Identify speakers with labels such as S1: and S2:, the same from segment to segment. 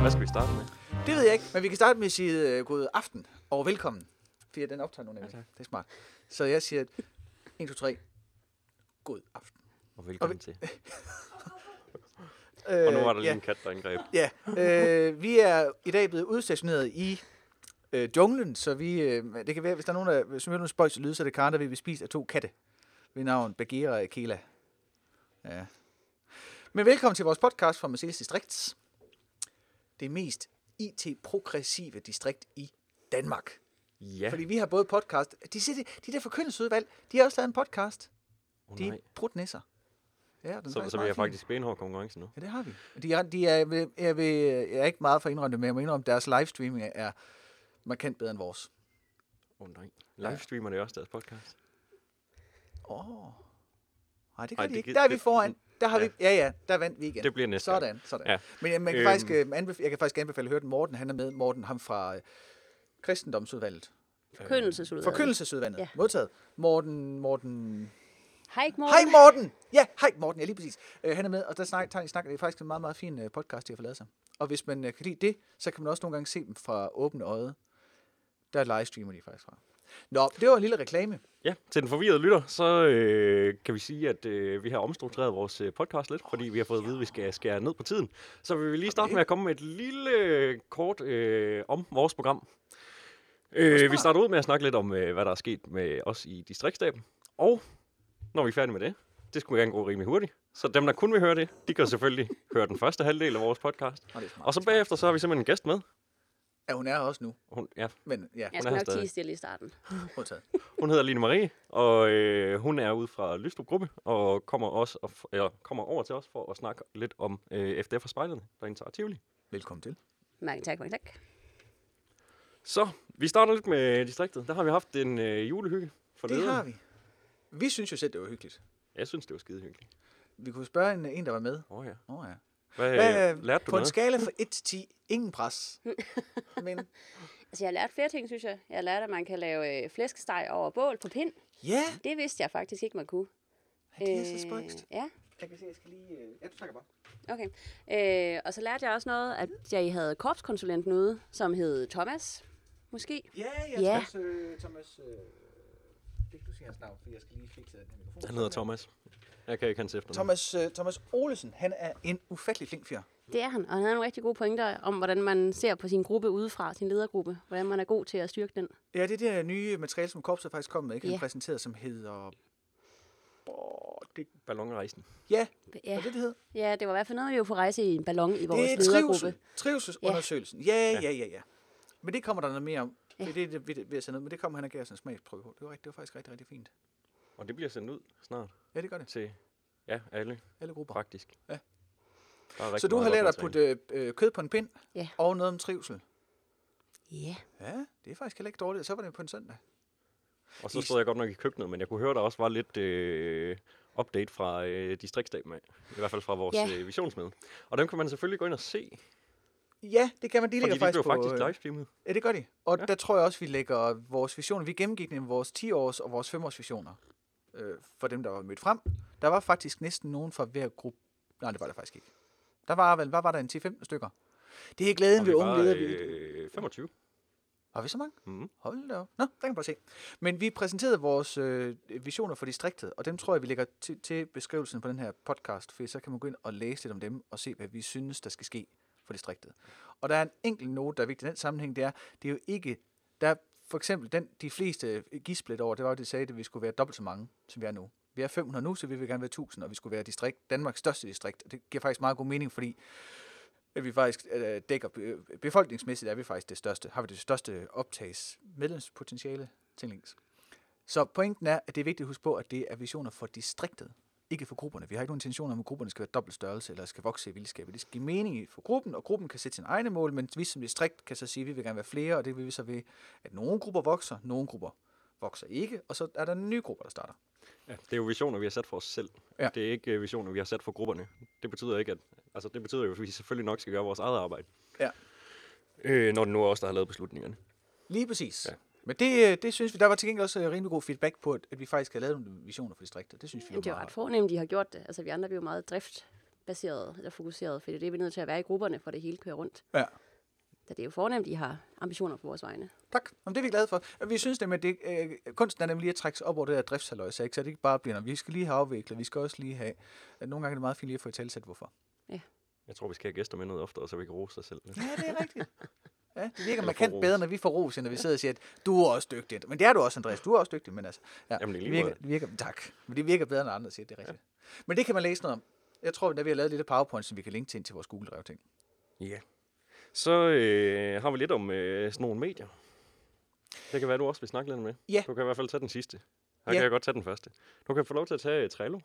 S1: Hvad skal vi starte med?
S2: Det ved jeg ikke, men vi kan starte med at sige øh, god aften og velkommen. Fordi den optager nu nemlig.
S1: Ja, tak.
S2: det er smart. Så jeg siger 1, 2, 3. God aften.
S1: Og velkommen til.
S2: Øh,
S1: Og nu var der lige
S2: ja,
S1: en kat, der angreb.
S2: Ja, øh, vi er i dag blevet udstationeret i øh, junglen, så vi, øh, det kan være, hvis der er nogen, der som hører nogle spøjs lyde, så er det Karen, der vil blive spist af to katte ved navn Bagheera og Kela. Ja. Men velkommen til vores podcast fra Marseilles Distrikt. Det mest IT-progressive distrikt i Danmark.
S1: Ja.
S2: Fordi vi har både podcast... De, siger, de, de der forkyndelsesudvalg, de har også lavet en podcast.
S1: oh,
S2: De er
S1: nej.
S2: brudnisser. Ja, den er
S1: Så, så vi
S2: meget
S1: har
S2: fin.
S1: faktisk benhård konkurrence nu.
S2: Ja, det har vi. De er, de er, ved- jeg, ved, jeg er ikke meget for at indrømme det, men jeg må indrømme, at deres livestreaming er markant bedre end vores.
S1: Åh oh, nej. Livestreamer det også deres podcast?
S2: Åh. Oh. Nej, det
S1: Ej,
S2: kan de
S1: det
S2: ikke.
S1: gid-
S2: Der er vi
S1: det-
S2: foran. Der har
S1: ja.
S2: ja. vi, ja, ja, der vandt vi igen.
S1: Det bliver næste gang.
S2: Sådan, sådan.
S1: Ja.
S2: Ja. Men jeg, man kan
S1: Øhm.
S2: øhm. faktisk, øh, anbef- jeg kan faktisk anbefale at høre den. Morten, han er med. Morten, ham fra øh, kristendomsudvalget.
S3: Forkyndelsesudvalget.
S2: Øh, Forkyndelsesudvalget. Ja.
S3: Ja.
S2: Modtaget. Morten, Morten,
S3: Hej, ikke Morten.
S2: Hej Morten! Ja, hej Morten, ja lige præcis. Øh, han er med, og der snak, tager de snak, det er faktisk en meget, meget fin øh, podcast, de har fået lavet sig. Og hvis man øh, kan lide det, så kan man også nogle gange se dem fra åbne øje. Der livestreamer de faktisk fra. Nå, det var en lille reklame.
S1: Ja, til den forvirrede lytter, så øh, kan vi sige, at øh, vi har omstruktureret vores øh, podcast lidt, fordi vi har fået at vide, at vi skal skære ned på tiden. Så vi vil lige starte med at komme med et lille øh, kort øh, om vores program. Øh, vi starter ud med at snakke lidt om, øh, hvad der er sket med os i distriktsstaben. Og når vi er færdige med det, det skulle gerne gå rimelig hurtigt. Så dem, der kun vil høre det, de kan selvfølgelig høre den første halvdel af vores podcast.
S2: Og, det er smart.
S1: Og så bagefter, så har vi simpelthen en gæst med.
S2: ja, hun er her også nu,
S1: Hun, ja,
S2: men ja,
S3: Jeg
S1: Hun
S3: skal
S1: er her
S3: nok
S1: stadig.
S3: tige stille i starten.
S2: modtaget.
S1: Hun hedder Line Marie, og øh, hun er ude fra Lystrup Gruppe, og kommer, også og f- eller kommer over til os for at snakke lidt om øh, FDF og spejlerne, der indtager Tivoli.
S2: Velkommen til.
S3: Mange tak, mange tak.
S1: Så, vi starter lidt med distriktet. Der har vi haft en øh, julehygge for
S2: Det
S1: lederen.
S2: har vi. Vi synes jo selv, det var hyggeligt.
S1: Jeg synes, det var skide hyggeligt.
S2: Vi kunne spørge en, en der var med.
S1: Åh oh, ja.
S2: Åh oh, ja.
S1: Hvad,
S2: Hvad,
S1: øh, lærte du
S2: på en
S1: noget?
S2: skala fra 1 til 10, ingen pres. Men
S3: Altså, jeg har lært flere ting, synes jeg. Jeg har lært, at man kan lave øh, flæskesteg over bål på pind.
S2: ja,
S3: Det vidste jeg faktisk ikke, man kunne.
S2: det er så spøjst.
S3: Øh, ja,
S2: Jeg kan se, jeg skal lige... øh, Ja, du snakker bare.
S3: okay. Øh, og så lærte jeg også noget, at jeg havde korpskonsulenten ude, som hed Thomas, måske.
S2: Ja, jeg
S3: Ja.
S2: Thomas, øh, Thomas øh, det kan du sige hans navn, for jeg skal lige fikse den her mikrofon.
S1: Han hedder Thomas. Jeg kan ikke hans efternavn.
S2: Thomas, øh, Thomas Olesen, han er en ufattelig flink fyr.
S3: Det er han, og han havde nogle rigtig gode pointer om, hvordan man ser på sin gruppe udefra, sin ledergruppe. Hvordan man er god til at styrke den.
S2: Ja, det der nye materiale, som korpset faktisk kom med, ikke? Han
S3: Ja.
S2: præsenterede, som hedder... Åh, det,
S1: Ballonrejsen.
S2: ja,
S3: Ja,
S2: og det, det hed?
S3: ja det var i hvert fald noget, vi var på rejse i en ballon i vores
S2: Det er
S3: ledergruppe.
S2: trivsel, trivselsundersøgelsen. Ja, ja, ja, ja. Men det kommer der noget mere om. Det er det, det, vi, vi har sendt ud, men det kommer han og gav os en smagsprøve på. Det var, rigtig, det var faktisk rigtig, rigtig fint.
S1: Og det bliver sendt ud snart
S2: Ja, det gør det.
S1: til ja, alle,
S2: Alle grupper.
S1: praktisk.
S2: Ja.
S1: Der er rigtig
S2: Så du
S1: meget
S2: har lært
S1: godt
S2: at putte øh, øh, kød på en pind
S3: Ja.
S2: og noget om trivsel.
S3: Ja,
S2: Ja, det er faktisk heller ikke dårligt. Så var det på en søndag.
S1: materiale. Og så stod jeg godt nok i køkkenet, men jeg kunne høre, der også var lidt... Øh, update fra øh, distriktsstaben af. I hvert fald fra vores
S3: Ja.
S1: øh, visionsmøde. Og dem kan man selvfølgelig gå ind og se,
S2: Ja, det kan man. De ligger
S1: Fordi de blev
S2: faktisk på...
S1: faktisk
S2: øh,
S1: livestreamet.
S2: Ja, det gør de. Og ja. der tror jeg også, vi lægger vores visioner. Vi gennemgik nemlig vores 10-års og vores 5-års visioner. Øh, for dem, der var mødt frem. Der var faktisk næsten nogen fra hver gruppe. Nej, det var der faktisk ikke. Der var vel, hvad var der, en 10-15 stykker? Det er glæden
S1: Og
S2: ved
S1: vi
S2: unge
S1: var
S2: ledere. vi-
S1: øh, 25.
S2: Var vi så mange?
S1: Mhm.
S2: Hold da op. Nå, der kan man bare se. Men vi præsenterede vores øh, visioner for distriktet, og dem tror jeg, vi lægger til, til beskrivelsen på den her podcast, for så kan man gå ind og læse lidt om dem og se, hvad vi synes, der skal ske for distriktet. Og der er en enkelt note, der er vigtig i den sammenhæng, det er, det er jo ikke, der er for eksempel den, de fleste gidsblæt over, det var jo, de sagde, at vi skulle være dobbelt så mange, som vi er nu. Vi er 500 nu, så vi vil gerne være 1000, og vi skulle være distrikt, Danmarks største distrikt. Og det giver faktisk meget god mening, fordi at vi faktisk øh, dækker, øh, befolkningsmæssigt er vi faktisk det største, har vi det største optags medlemspotentiale til links. Så pointen er, at det er vigtigt at huske på, at det er visioner for distriktet, ikke for grupperne. Vi har ikke nogen intention om, at grupperne skal være dobbelt størrelse eller skal vokse i vildskab. Det skal give mening i- for gruppen, og gruppen kan sætte sine egne mål, men vi som distrikt kan så sige, at vi vil gerne være flere, og det vil vi så ved, at nogle grupper vokser, nogle grupper vokser ikke, og så er der nye grupper, der starter.
S1: Ja, det er jo visioner, vi har sat for os selv.
S2: Ja.
S1: Det er ikke øh, visioner, vi har sat for grupperne. Det betyder ikke, at altså, det betyder jo, at vi selvfølgelig nok skal gøre vores eget arbejde.
S2: Ja.
S1: Øh, når det nu er os, der har lavet beslutningerne.
S2: Lige præcis.
S1: Ja.
S2: Ja. Men det, øh, det synes vi, der var til gengæld også øh, rimelig god feedback på, at, at vi faktisk har lavet nogle visioner for distriktet. Det synes vi
S3: Jamen, det er
S2: meget
S3: jo ret fornemt, de har gjort det. Altså, vi andre vi er jo meget drift baseret eller fokuseret, fordi det er vi nødt til at være i grupperne, for det hele kører rundt.
S2: Ja.
S3: Da det er jo fornemt, I har ambitioner på vores vegne.
S2: Tak. Jamen, det er vi glade for. Og Vi synes nemlig, at det, øh, kunsten er nemlig lige at trække sig op over det der driftshalløj, så, ikke? så det ikke bare bliver, når vi skal lige have afviklet, vi skal også lige have. at Nogle gange er det meget fint lige at få i talsæt, hvorfor.
S1: Jeg tror, vi skal have gæster med noget oftere, så vi kan rose os selv. lidt.
S2: Ja, det er rigtigt. Ja, det virker
S1: får
S2: markant
S1: ros.
S2: bedre, når vi får ros, end når vi sidder og siger, at du er også dygtig. Men det er du også, Andreas. Du er også dygtig, men altså... Ja,
S1: Jamen, i lige
S2: virker,
S1: måde.
S2: det virker, tak. Men det virker bedre, når andre siger, at det er rigtigt. Ja. Men det kan man læse noget om. Jeg tror, at vi har lavet lidt af PowerPoint, som vi kan linke til ind til vores google drev ting
S1: Ja. Så øh, har vi lidt om øh, sådan nogle medier. Det kan være, du også vil snakke lidt med.
S2: Ja.
S1: Du kan i hvert fald tage den sidste. Her
S2: Ja.
S1: kan jeg godt tage den første. Du kan få lov til at tage øh, Trello.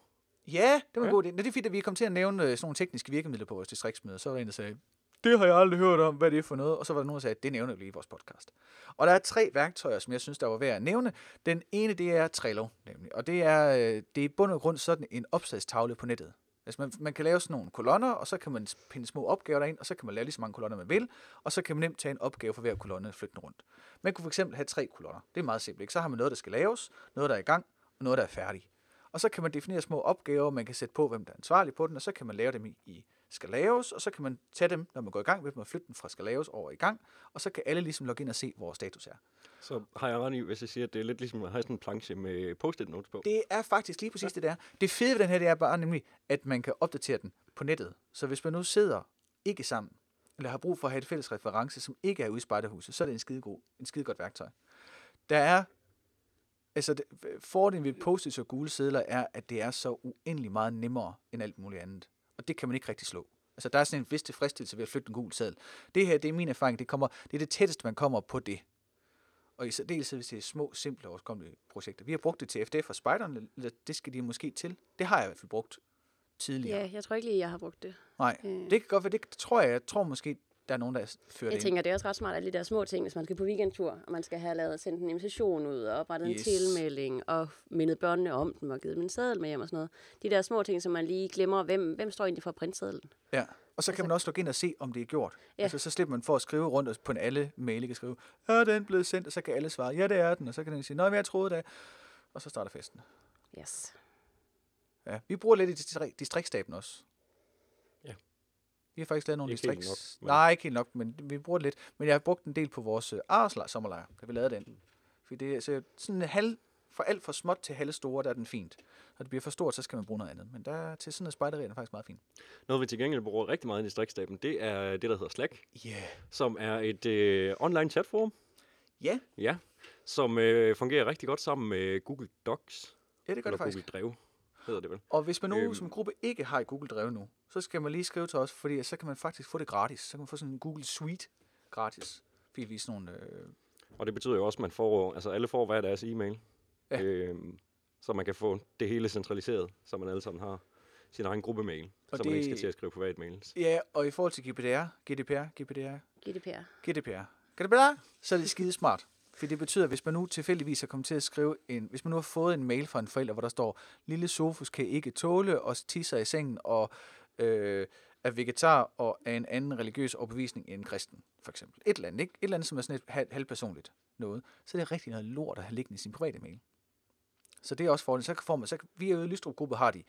S2: Ja, det var en
S1: Ja.
S2: god idé. Nå, det er fint, at vi kom til at nævne øh, sådan nogle tekniske virkemidler på vores distriktsmøde. Så var der en, der sagde, det har jeg aldrig hørt om, hvad det er for noget. Og så var der nogen, der sagde, det nævner vi lige i vores podcast. Og der er tre værktøjer, som jeg synes, der var værd at nævne. Den ene, det er Trello, nemlig. Og det er, øh, det er i bund og grund sådan en opslagstavle på nettet. Altså man, man kan lave sådan nogle kolonner, og så kan man pinde små opgaver derind, og så kan man lave lige så mange kolonner, man vil, og så kan man nemt tage en opgave for hver kolonne og flytte den rundt. Man kunne for eksempel have tre kolonner. Det er meget simpelt. Ikke? Så har man noget, der skal laves, noget, der er i gang, og noget, der er færdigt. Og så kan man definere små opgaver, man kan sætte på, hvem der er ansvarlig på den, og så kan man lave dem i, i skal laves, og så kan man tage dem, når man går i gang med dem, og flytte dem fra skal laves over i gang, og så kan alle ligesom logge ind og se, hvor status er.
S1: Så har jeg ret i, hvis jeg siger, at det er lidt ligesom at have sådan en planche med post-it notes på.
S2: Det er faktisk lige præcis det der. Det fede ved den her, det er bare nemlig, at man kan opdatere den på nettet. Så hvis man nu sidder ikke sammen, eller har brug for at have et fælles reference, som ikke er ude i spejderhuset, så er det en skide, god, en skide godt værktøj. Der er, altså det, fordelen ved post og gule sedler er, at det er så uendelig meget nemmere end alt muligt andet. Og det kan man ikke rigtig slå. Altså der er sådan en vis tilfredsstillelse ved at flytte en gul seddel. Det her, det er min erfaring, det, kommer, det er det tætteste, man kommer på det. Og i særdeleshed, hvis det er små, simple og overkommelige projekter. Vi har brugt det til FDF og spejderne, eller det skal de måske til. Det har jeg i hvert fald brugt tidligere.
S3: Ja, jeg tror ikke lige, jeg har brugt det.
S2: Nej,
S3: Øh.
S2: det kan godt være, det tror jeg. Jeg tror måske, der er nogen, der fører
S3: Jeg
S2: det ind.
S3: tænker, det er også ret smart, at de der små ting, hvis man skal på weekendtur, og man skal have lavet sendt en invitation ud, og oprettet
S2: Yes.
S3: yes. en tilmelding, og mindet børnene om dem, og givet dem en seddel med hjem og sådan noget. De der små ting, som man lige glemmer, hvem, hvem står egentlig for printsedlen?
S2: Ja. Og så kan man også logge ind og se, om det er gjort. Ja.
S3: Ja.
S2: Altså, så slipper man for at skrive rundt og på en alle mail, ikke? kan skrive, er den blevet sendt? Og så kan alle svare, ja, det er den. Og så kan den sige, nej, jeg troede det. Og så starter festen.
S3: Yes.
S2: Ja. Vi bruger lidt i distri- distriktsstaben også.
S1: Ja.
S2: Vi har faktisk lavet nogle
S1: Ikke helt
S2: distrikts...
S1: nok, men-
S2: Nej, ikke helt nok, men vi bruger det lidt. Men jeg har brugt en del på vores øh, Aarhuslejr sommerlejr, da vi lavede den. Fordi det er så sådan en halv, fra alt for småt til halv store, der er den fint. Når det bliver for stort, så skal man bruge noget andet. Men der til sådan noget spejderi er den faktisk meget fint.
S1: Noget, vi til gengæld bruger rigtig meget i distriktsstaben, det er det, der hedder Slack,
S2: Ja. Yeah.
S1: som er et øh, online chatforum,
S2: Ja,
S1: ja, som øh, fungerer rigtig godt sammen med Google Docs.
S2: ja, det gør
S1: eller
S2: det faktisk.
S1: Google Drive, hedder det vel.
S2: Og hvis man nu øhm.
S1: Øhm.
S2: som gruppe ikke har et Google Drive nu, så skal man lige skrive til os, fordi så kan man faktisk få det gratis. Så kan man få sådan en Google Suite gratis. Fordi vi er sådan nogle... Øh,
S1: Og det betyder jo også, at man får, altså alle får hver deres e-mail.
S2: Ja.
S1: Ja. Øhm, så man kan få det hele centraliseret, så man alle sammen har sin egen gruppemail,
S2: Og
S1: så man ikke skal
S2: det-
S1: til at skrive privatmails.
S2: ja, og i forhold til GDPR, GDPR, GDPR,
S3: GDPR.
S2: GDPR. GDPR, så er det skide smart. For det betyder, at hvis man nu tilfældigvis er kommet til at skrive en... Hvis man nu har fået en mail fra en forælder, hvor der står, lille Sofus kan ikke tåle og tisser i sengen og øh, er vegetar og er en anden religiøs overbevisning end kristen, for eksempel. Et eller andet, ikke? Et eller andet, som er sådan et hal- halvpersonligt noget. Så er det rigtig noget lort at have liggende i sin private mail. Så det er også fordelen. Så får man, så kan- vi er jo i Lystrup-gruppe har de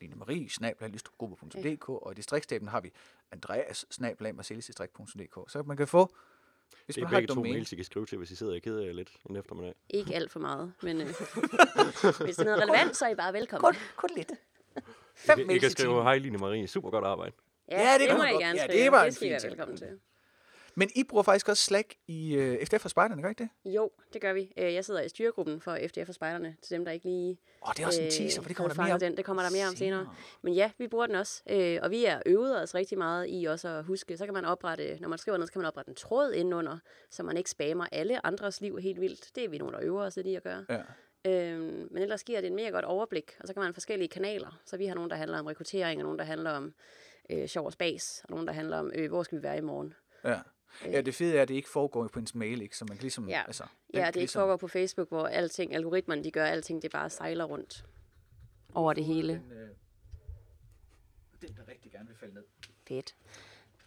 S2: Line Marie, snabel, lystrupgruppe.dk, og i distriktsstaben har vi Andreas, snabel, marcelisdistrikt.dk. Så man kan få, hvis
S1: Det er
S2: man har
S1: begge
S2: et
S1: to
S2: domæne.
S1: mails, I kan skrive til, hvis I sidder og keder jer lidt en eftermiddag.
S3: Ikke alt for meget, men øh, hvis det er noget relevant, så er I bare velkommen.
S2: Kun, kun lidt. Fem
S1: I, I
S2: mails i
S1: kan
S2: timen.
S1: skrive, hej Line Marie, super godt arbejde.
S2: Ja, det kan
S3: må
S2: man
S3: I
S2: godt.
S3: gerne
S2: Ja, det
S3: skrive.
S2: var en
S3: det skal I
S2: fin
S3: være
S2: ting.
S3: velkommen til.
S2: Men I bruger faktisk også Slack i øh, FDF og Spejderne, gør I ikke det?
S3: Jo, det gør vi. Øh, Jeg sidder i styregruppen for FDF og spejderne, til dem, der ikke lige...
S2: Åh, det er også en
S3: Øh,
S2: teaser, for det kommer
S3: havde
S2: der mere
S3: fanget
S2: om
S3: Den. Det kommer der mere om senere.
S2: senere.
S3: Men ja, vi bruger den også. Øh, og vi er øvet os rigtig meget i også at huske, så kan man oprette, når man skriver noget, så kan man oprette en tråd indenunder, så man ikke spammer alle andres liv helt vildt. Det er vi nogen, der øver os lidt i at gøre.
S2: Ja.
S3: Øhm, men ellers giver det en mega godt overblik, og så kan man have forskellige kanaler. Så vi har nogen, der handler om rekruttering, og nogen, der handler om øh, sjov og spas, og nogen, der handler om, øh, hvor skal vi være i morgen.
S2: Ja. ja, det fede er, at det ikke foregår på ens mail, ikke? Så man kan ligesom...
S3: Øh. Ja,
S2: altså, den
S3: Ja, det
S2: kan
S3: er ikke foregår på Facebook, hvor alting, algoritmerne, de gør alting, det bare sejler rundt over det hele.
S2: Den, øh, den, der rigtig gerne vil falde ned.
S3: Fedt.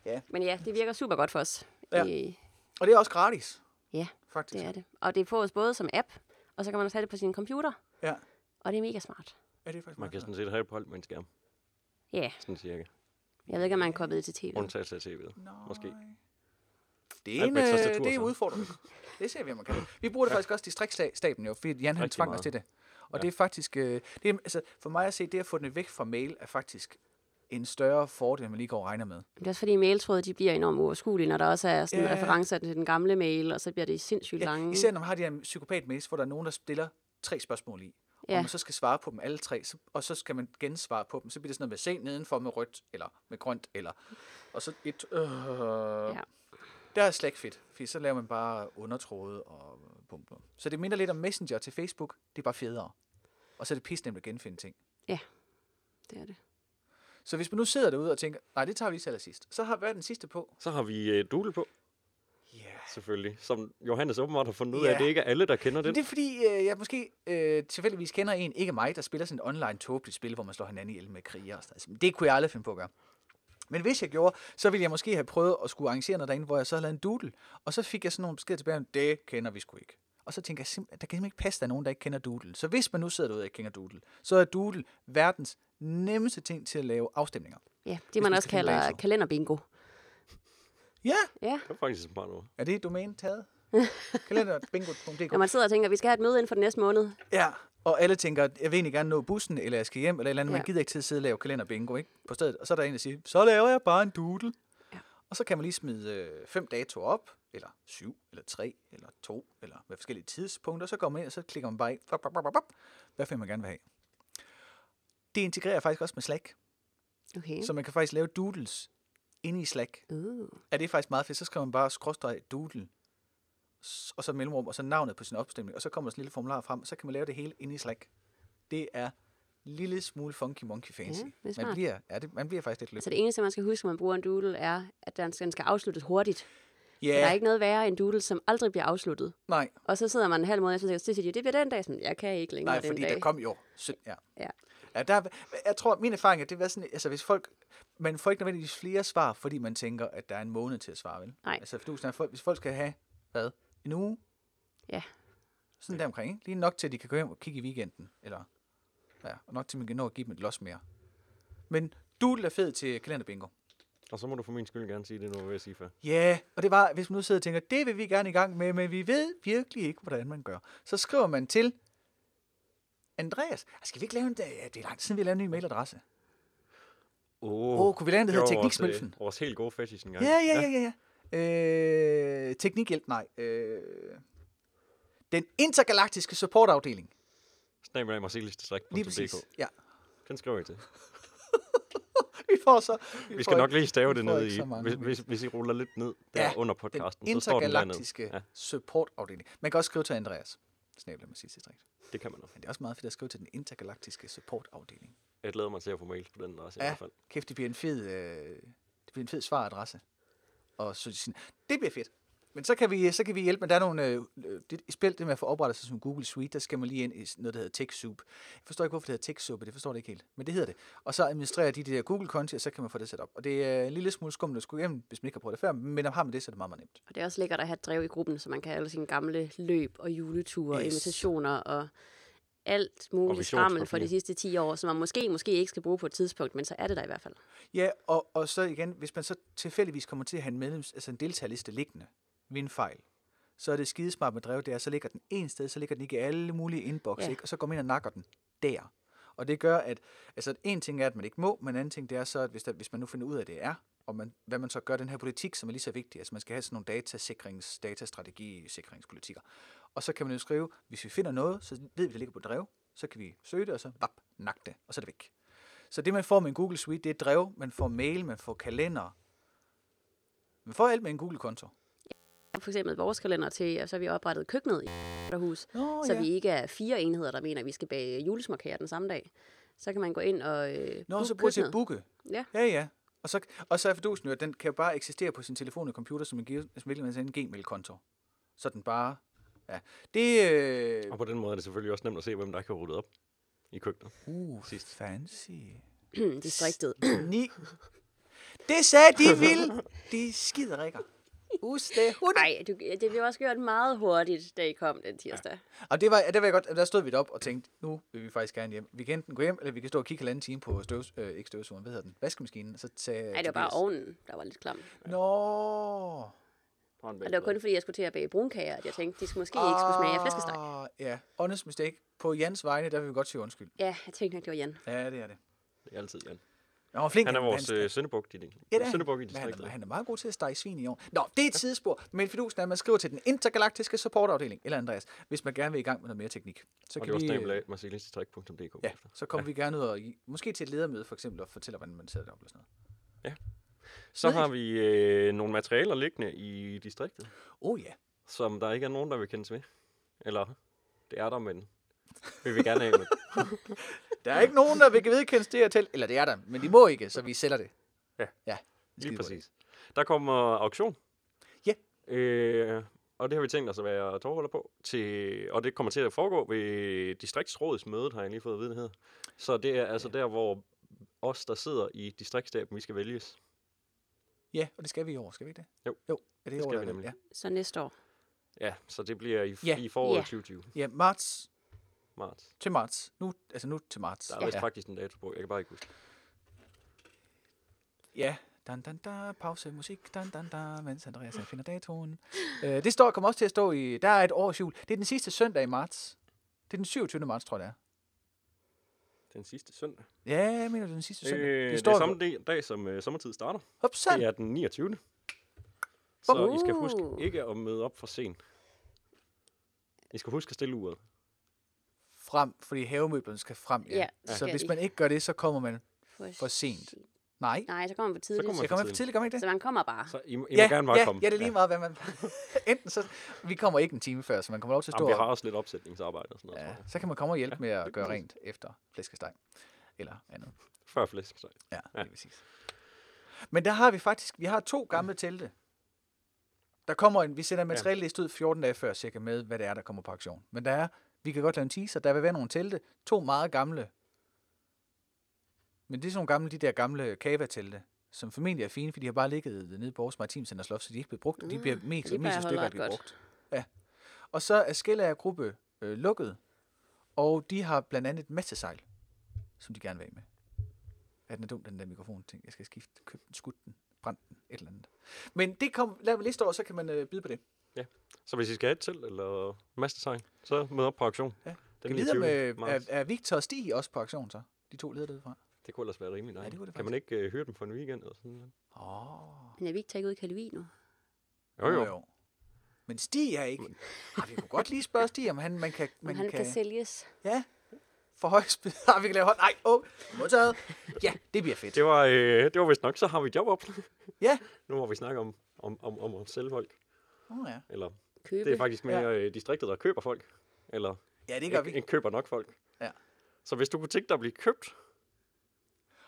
S2: Ja.
S3: Men ja, det virker super godt for os.
S2: Ja.
S3: Øh,
S2: Og det er også gratis,
S3: ja,
S2: faktisk.
S3: det er det. Og det fås både som app, og så kan man også have det på sin computer,
S2: Ja.
S3: og det er mega smart.
S2: ja, det er faktisk
S1: Man
S2: meget
S1: kan
S2: smart.
S1: sådan set have det på alt med en skærm,
S3: Ja,
S1: sådan cirka.
S3: Jeg ved ikke, om man er kommet til tv.
S1: Undtagelse af tv'et. Måske.
S2: Det er,
S1: Alt
S2: en,
S1: med et
S2: øh,
S1: tastatur,
S2: det er
S1: så.
S2: udfordringen. Det ser vi, om man kan. Vi bruger det faktisk også distriktsstaben jo, fordi Jan han
S1: Rigtig
S2: tvang os
S1: meget.
S2: til det. Og det er faktisk, øh, det er, altså, for mig at se, det at få den væk fra mail, er faktisk en større fordel, end man lige går og regner med.
S3: Det er også fordi mailtråde, de bliver enormt uoverskuelige, når der også er sådan
S2: Ja.
S3: ja. referencer til den gamle mail, og så bliver det sindssygt
S2: Ja,
S3: lange.
S2: især når man har de her psykopat-mails, hvor der er nogen, der stiller tre spørgsmål i. Ja.
S3: Ja.
S2: Og man så skal svare på dem alle tre, så, og så skal man gensvare på dem. Så bliver det sådan noget med se nedenfor med rødt, eller med grønt, eller... Og så et... Øh, ja.
S3: Ja.
S2: Der er Slack fedt, for så laver man bare undertråde og pumper. Så det minder lidt om Messenger til Facebook, det er bare federe. Og så er det pisse nemt at genfinde ting.
S3: Det er det.
S2: Så hvis man nu sidder derude og tænker, nej, det tager vi lige til allersidst, så har hvad er den sidste på?
S1: Så har vi øh, Dule på,
S2: Yeah.
S1: selvfølgelig. Som Johannes åbenbart har fundet ud af,
S2: Ja.
S1: at det ikke er alle, der kender
S2: Men
S1: den.
S2: det er fordi, øh, jeg måske øh, tilfældigvis kender en, ikke mig, der spiller sådan et online tåbeligt spil, hvor man slår hinanden ihjel med kriger. Og sådan. noget. Altså, det kunne jeg aldrig finde på at gøre. Men hvis jeg gjorde, så ville jeg måske have prøvet at skulle arrangere noget derinde, hvor jeg så havde lavet en doodle. Og så fik jeg sådan nogle beskeder tilbage om, det kender vi sgu ikke. Og så tænker jeg, simp- der kan simpelthen ikke passe, at der er nogen, der ikke kender doodle. Så hvis man nu sidder derude og ikke kender doodle, så er doodle verdens nemmeste ting til at lave afstemninger.
S3: Ja, det
S2: Hvis
S3: man
S2: man
S3: også
S2: skal finde
S3: kalder
S2: datoer.
S3: kalenderbingo.
S2: Ja,
S3: Ja.
S1: Det var faktisk et smart ord.
S2: er det domæne taget? Kalender.bingo.dk
S3: Når man sidder og tænker, vi skal have et møde inden for den næste måned.
S2: Ja, og alle tænker, at jeg vil egentlig gerne nå bussen, eller jeg skal hjem, eller et eller andet. Man
S3: Ja.
S2: gider ikke til at sidde og lave kalenderbingo ikke? på stedet. Og så er der en, der siger, så laver jeg bare en doodle.
S3: Ja.
S2: Og så kan man lige smide øh, fem datoer op, eller syv, eller tre, eller to, eller med forskellige tidspunkter. Så går man ind, og så klikker man bare ind. Bop, bop, bop, bop, bop. Hvad vil man gerne vil have? Det integrerer faktisk også med Slack,
S3: Okay.
S2: så man kan faktisk lave doodles inde i Slack.
S3: Uh.
S2: Ja, det er faktisk meget fedt. Så skriver man bare skråstreg doodle, s- og så mellemrum, og så navnet på sin opstemning, og så kommer der sådan en lille formular frem, og så kan man lave det hele inde i Slack. Det er en lille smule funky monkey fancy.
S3: Ja, Mhm, det er
S2: man,
S3: smart.
S2: bliver, ja, det, man bliver faktisk lidt lykkelig.
S3: Så det eneste, man skal huske, når man bruger en doodle, er, at den skal den skal afsluttes hurtigt. Ja. Der er
S2: Ja,
S3: ikke noget værre end doodle, som aldrig bliver afsluttet.
S2: nej,
S3: Og så sidder man en halv måned, og så tænker, jeg, det bliver den dag, som jeg kan ikke længere
S2: nej,
S3: den
S2: fordi
S3: dag.
S2: der kom jo synd, ja.
S3: Ja.
S2: Ja, der, er- jeg tror, min erfaring er, det var sådan, altså hvis folk, man får ikke nødvendigvis flere svar, fordi man tænker, at der er en måned til at svare, vel?
S3: Nej.
S2: Altså, for du, snakker, folk- hvis folk skal have, hvad, en uge?
S3: Ja.
S2: Sådan der omkring, ikke? Lige nok til, at de kan gå hjem og kigge i weekenden, eller, ja, og nok til, at man kan nå at give dem et los mere. Men du er fed til kalenderbingo.
S1: Og så må du for min skyld gerne sige det, nu var ved at sige før.
S2: Ja, yeah. og det var, hvis man nu sidder og tænker, det vil vi gerne i gang med, men vi ved virkelig ikke, hvordan man gør. Så skriver man til Andreas. "Ah, Skal vi ikke lave en, ja, det er langt siden, vi har lavet en ny mailadresse.
S1: Åh,
S2: Åh, oh, kunne vi lave en, der hedder
S1: Det var vores, øh,
S2: Tekniksmølfen?
S1: Vores helt gode fetish engang.
S2: Ja, ja, ja, ja. ja. Øh, teknikhjælp, nej. Øh, den intergalaktiske supportafdeling.
S1: Snabel af marcelisdistrikt.dk.
S2: Lige præcis. Ja.
S1: Den skriver jeg til.
S2: Vi får så...
S1: Vi
S2: får
S1: skal nok lige stave
S2: vi
S1: det
S2: får
S1: ned
S2: ikke
S1: i.
S2: så mange
S1: Hvis,
S2: mails.
S1: hvis, hvis I ruller lidt ned der
S2: Ja,
S1: under
S2: Den
S1: podcasten, så står den dernede.
S2: intergalaktiske
S1: Ja.
S2: supportafdeling. Man kan også skrive til Andreas. Snabler med sidste distrikt.
S1: Det kan man nok.
S2: Men det er også meget fedt at skrive til den intergalaktiske supportafdeling.
S1: Jeg glæder mig til at få mails på den adresse i
S2: Ja.
S1: hvert fald.
S2: Kæft, det bliver en fed, øh, det bliver en fed svaradresse. Og så sådan, det bliver fedt. Men så kan vi, så kan vi hjælpe, men der er nogle, øh, øh, det spil, det med at få oprettet sig som Google Suite, der skal man lige ind i noget, der hedder TechSoup. Jeg forstår ikke, hvorfor det hedder TechSoup, det forstår det ikke helt, men det hedder det. Og så administrerer de det der Google-konti, og så kan man få det sat op. Og det er en lille smule skummelt at skulle hjem, hvis man ikke har prøvet det før, men har man det, så er det meget, meget nemt.
S3: Og det er også lækkert at have et drev i gruppen, så man kan have alle sine gamle løb og juleture og
S2: Yes.
S3: invitationer og alt muligt skrammel for
S1: visionspapirer.
S3: de sidste 10 år, som man måske, måske ikke skal bruge på et tidspunkt, men så er det der i hvert fald.
S2: Ja, og, og så igen, hvis man så tilfældigvis kommer til at have en, medlems, altså en deltagerliste liggende ved en fejl, så er det skidesmart med drev der, så ligger den en sted, så ligger den ikke i alle mulige inbox,
S3: Ja.
S2: ikke? og så går man ind og nakker den der. Og det gør, at altså, en ting er, at man ikke må, men en anden ting det er så, at hvis, der, hvis man nu finder ud af, at det er, og man, hvad man så gør den her politik, som er lige så vigtig. Altså man skal have sådan nogle datasikrings, datastrategi, sikringspolitikker. Og så kan man jo skrive, hvis vi finder noget, så ved vi, det ligger på drev, så kan vi søge det, og så vap, nak det, og så er det væk. Så det, man får med en Google Suite, det er drev, man får mail, man får kalender. Man får alt med en Google-konto.
S3: Og For eksempel vores kalender til, og så har vi oprettet køkkenet i hus,
S2: Nå,
S3: så vi ikke er fire enheder, der mener, at vi skal bage julesmarkere den samme dag. Så kan man gå ind og øh,
S2: Nå,
S3: booke
S2: så bruger jeg til at
S3: køkkenet.
S2: booke.
S3: Ja.
S2: Ja, ja. Og så, og så er fidusen jo, at den kan jo bare eksistere på sin telefon og computer, som en, gi- som hvilken man en Gmail-konto. Så den bare... Ja. Det... Øh,
S1: Og på den måde er det selvfølgelig også nemt at se, hvem der ikke har ryddet op i køkkenet.
S2: uh,
S1: sidst.
S2: fancy.
S3: distriktet.
S2: Ni. Det sagde de vil. De skider ikke. Ustehutte.
S3: Nej, det blev også gjort meget hurtigt, da I kom den tirsdag.
S2: Og det var, der, var jeg godt, der stod vi op og tænkte, nu vil vi faktisk gerne hjem. Vi kan enten gå hjem, eller vi kan stå og kigge halvanden time på støvs, øh, ikke støvsugeren, hvad hedder den, vaskemaskinen. Så sagde
S3: Nej, det var bare ovnen, der var lidt klam.
S2: Nå.
S3: Og det var kun fordi, jeg skulle til at bage brunkager, at jeg tænkte, de skulle måske ikke skulle smage af flæskesteg.
S2: Ah, Ja, honest mistake. På Jans vegne, der vil vi godt sige undskyld.
S3: Ja, jeg tænkte nok, det var Jan.
S2: Ja, det er det.
S1: Det er altid Jan.
S2: Han var flink.
S1: Han er vores
S2: han,
S1: øh, søndebuk, de
S2: Ja, det er
S1: Søndebuk i
S2: Men han, er,
S1: distriktet.
S2: han er meget god til at stege svin i år. Nå, det er et tidsspor, men fidusen er, at man skriver til den intergalaktiske supportafdeling, eller Andreas, hvis man gerne vil i gang med noget mere teknik. Så
S1: Og det var
S2: vi, øh,
S1: snabelag, marcelinsdistrikt.dk.
S2: Ja, så kommer ja. vi gerne ud og i- måske til et ledermøde for eksempel og fortæller, hvordan man sætter det op og sådan noget.
S1: Så har vi øh, nogle materialer liggende i distriktet,
S2: Oh ja,
S1: som der ikke er nogen, der vil kendes ved. Eller, det er der, men vi vil gerne have med.
S2: der er ikke nogen, der vil vedkendes det her telt. Eller det er der, men de må ikke, så vi sælger det.
S1: Ja.
S2: ja
S1: Lige præcis. Der kommer auktion.
S2: Ja.
S1: Øh, og det har vi tænkt os at være tårholder på. Til, og det kommer til at foregå ved distriktsrådets møde, har jeg lige fået at vide, det hedder. Så det er altså der, hvor os, der sidder i distriktsstaben, vi skal vælges.
S2: Ja, og det skal vi i år, skal vi ikke det?
S1: Jo.
S2: Jo, er det,
S1: Det
S2: i år,
S1: skal
S2: der
S1: vi
S2: er
S1: nemlig.
S2: Ja.
S3: Så næste år.
S1: Ja, så det bliver i,
S2: Ja.
S1: yeah. i foråret
S3: Ja.
S1: 2020,
S2: ja, marts
S1: marts.
S2: til marts. Nu, altså nu til marts.
S1: Der er
S2: ja.
S1: vist faktisk en dato på, jeg kan bare ikke huske.
S2: Ja, dan, dan, da, pause, musik, dan, dan, da, mens Andreas han finder datoen. Øh, det står, kommer også til at stå i, der er et års jul. Det er den sidste søndag i marts. Det er den 27. marts, tror jeg, det er.
S1: Den sidste søndag.
S2: Ja, jeg mener, det er den sidste søndag.
S1: Øh, det
S2: står
S1: er
S2: jo-
S1: samme dag, dag som øh, sommertid starter.
S2: Hopsan!
S1: Det er den 29. Så I skal huske
S3: Uh.
S1: ikke at møde op for sent. I skal huske at stille uret.
S2: Frem, fordi havemøblerne skal frem.
S3: Ja,
S2: så
S3: det skal
S2: hvis
S3: de.
S2: man ikke gør det, så kommer man
S3: For,
S2: for sent. Nej,
S3: Nej, så kommer man for tidligt. Så,
S1: kommer
S2: jeg kommer for
S1: tidligt.
S2: tidligt, gør man ikke det?
S3: så man kommer bare.
S1: Så I, I ja, må gerne bare
S2: ja,
S1: komme.
S2: ja, det er lige meget, hvad man... Enten så... Vi kommer ikke en time før, så man kommer lov til at stå
S1: Jamen, vi
S2: og-
S1: har også lidt opsætningsarbejde og sådan noget, ja.
S2: Ja,
S1: tror jeg.
S2: så kan man komme og hjælpe med at gøre
S1: præcis.
S2: rent efter flæskesteg. Eller andet.
S1: Før flæsk, så.
S2: Ja, ja. lige præcis. Men der har vi faktisk, vi har to gamle telte. Der kommer en, vi sender en materialliste ud 14 dage før cirka med, hvad det er, der kommer på aktion. Men der er, vi kan godt lave en teaser, der vil være nogle telte, to meget gamle. Men det er sådan nogle gamle, de der gamle kava-telte, som formentlig er fine, for de har bare ligget nede på Aarhus Maritim Center Slot, så de er ikke blevet brugt, og de bliver mest og mest stykker at blive brugt. Og så er Skellager Gruppe øh, lukket, og de har blandt andet et massesejl, som de gerne vil af med. Er den er dum, den der mikrofon ting. Jeg skal skifte, købe den, skudt den, brænde den, et eller andet. Men det kom, lad mig liste over, så kan man øh, byde på det.
S1: Så hvis I skal have et til eller mastertegn, så mød op på auktion.
S2: Ja.
S1: Den
S2: kan vi vide, om
S1: 29.
S2: øh,
S1: marts.
S2: er, er Victor og Stig også på aktion så? De to leder derudfra.
S1: Det kunne ellers være rimelig dejligt.
S2: det kunne det
S1: kan man ikke øh, høre dem for en weekend eller sådan noget?
S2: Åh,
S3: Men er vi ikke taget ud i Kalvi nu?
S1: Jo, jo.
S2: Men Stig er ikke... Har vi kunne godt lige spørge Stig, om han, man kan...
S3: Om
S2: Man
S3: han kan sælges.
S2: Ja, for højspid. Har vi kan lave hånd? Nej, åh, oh, modtaget. Ja, det bliver fedt.
S1: Det var, øh, det var vist nok, så har vi job op.
S2: Ja.
S1: nu hvor vi snakker om, om, om, om at sælge folk.
S2: Oh, ja.
S1: Eller,
S3: Købe.
S1: det er faktisk mere ja. distriktet, der køber folk. Eller
S2: ja, det gør
S1: ikke,
S2: vi.
S1: ikke køber nok folk.
S2: Ja.
S1: Så hvis du kunne tænke dig at blive købt,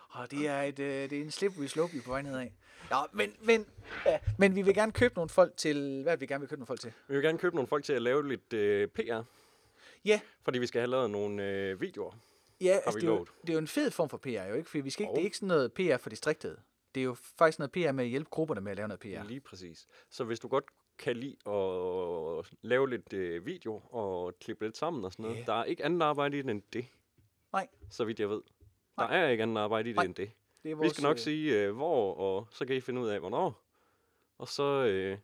S2: Og det er, et, øh, det er en slippery slope, vi er på vej nedad. Nå, men, men, ja, men vi vil gerne købe nogle folk til... Hvad er det, vi gerne vil købe nogle folk til?
S1: vi vil gerne købe nogle folk til at lave lidt øh, PR,
S2: Ja,
S1: fordi vi skal have lavet nogle øh, videoer.
S2: ja altså,
S1: vi
S2: det, er jo,
S1: lovet.
S2: det er jo en fed form for PR, jo ikke? For vi skal ikke,
S1: Jo.
S2: det er ikke sådan noget PR for distriktet. Det er jo faktisk noget PR med at hjælpe grupperne med at lave noget PR.
S1: Ja. Lige præcis. Så hvis du godt kan lide at lave lidt øh, video og klippe lidt sammen og sådan noget,
S2: Ja.
S1: der er ikke andet arbejde i det end det,
S2: Nej,
S1: så vidt jeg ved. Der er ikke andet arbejde i det
S2: Nej.
S1: end det.
S2: det er vores...
S1: Vi skal nok
S2: øh,
S1: sige, øh, hvor, og så kan I finde ud af, hvornår. Og så øh,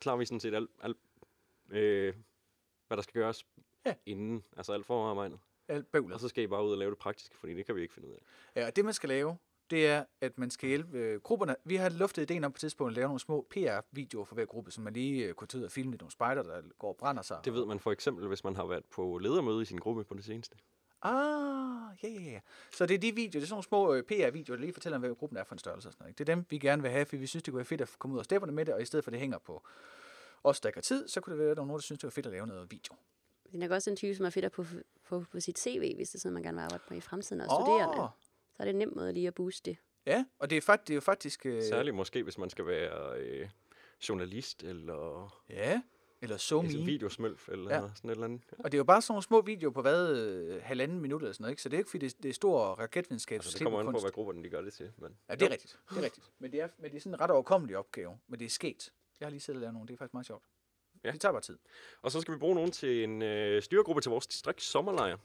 S1: klarer vi sådan set alt, alt øh, hvad der skal gøres
S2: Ja.
S1: ja. inden, altså alt forarbejdet.
S2: Alt bøvlet.
S1: Og så skal I bare ud og lave det praktiske, fordi det kan vi ikke finde ud af.
S2: Ja, og det man skal lave, det er, at man skal hjælpe øh, grupperne. Vi har luftet ideen om på et tidspunkt at lave nogle små PR-videoer for hver gruppe, så man lige øh, kunne tage ud og filme lidt nogle spejder, der går og brænder sig.
S1: Det ved man for eksempel, hvis man har været på ledermøde i sin gruppe på det seneste.
S2: Ah, ja, ja, ja. Så det er de videoer, det er sådan nogle små øh, PR-videoer, der lige fortæller om, hvad gruppen er for en størrelse og sådan noget. Ikke? Det er dem, vi gerne vil have, for vi synes, det kunne være fedt at komme ud af stepperne med det, og i stedet for, at det hænger på os, der ikke har tid, så kunne det være, at der var nogen, der synes, det var fedt at lave noget video.
S3: Det er nok også en type, som er fedt at på, på, på sit CV, hvis det er sådan, man gerne vil arbejde på i fremtiden og studerende.
S2: Åh,
S3: Så er det en nem måde lige at booste det.
S2: Ja, og det er, fakt, det er jo faktisk... Øh,
S1: Særligt måske, hvis man skal være øh, journalist eller
S2: Ja, eller so
S1: Altså en
S2: me.
S1: videosmølf eller
S2: Ja.
S1: ja. sådan et eller andet. Ja.
S2: Og det er jo bare sådan nogle små videoer på hvad, øh, halvanden minut eller sådan noget, ikke? Så det er ikke, fordi det, det er stor raketvidenskab.
S1: Altså, det kommer an på,
S2: kunst.
S1: hvad grupperne de gør det til. Men
S2: Ja, det er rigtigt. Det er rigtigt. Men det er, men det er sådan en ret overkommelig opgave, men det er sket. Jeg har lige siddet og lavet nogle, det er faktisk meget sjovt.
S1: Ja.
S2: Ja. Det tager bare tid.
S1: Og så skal vi bruge nogen til en øh, styregruppe til vores distrikts sommerlejr.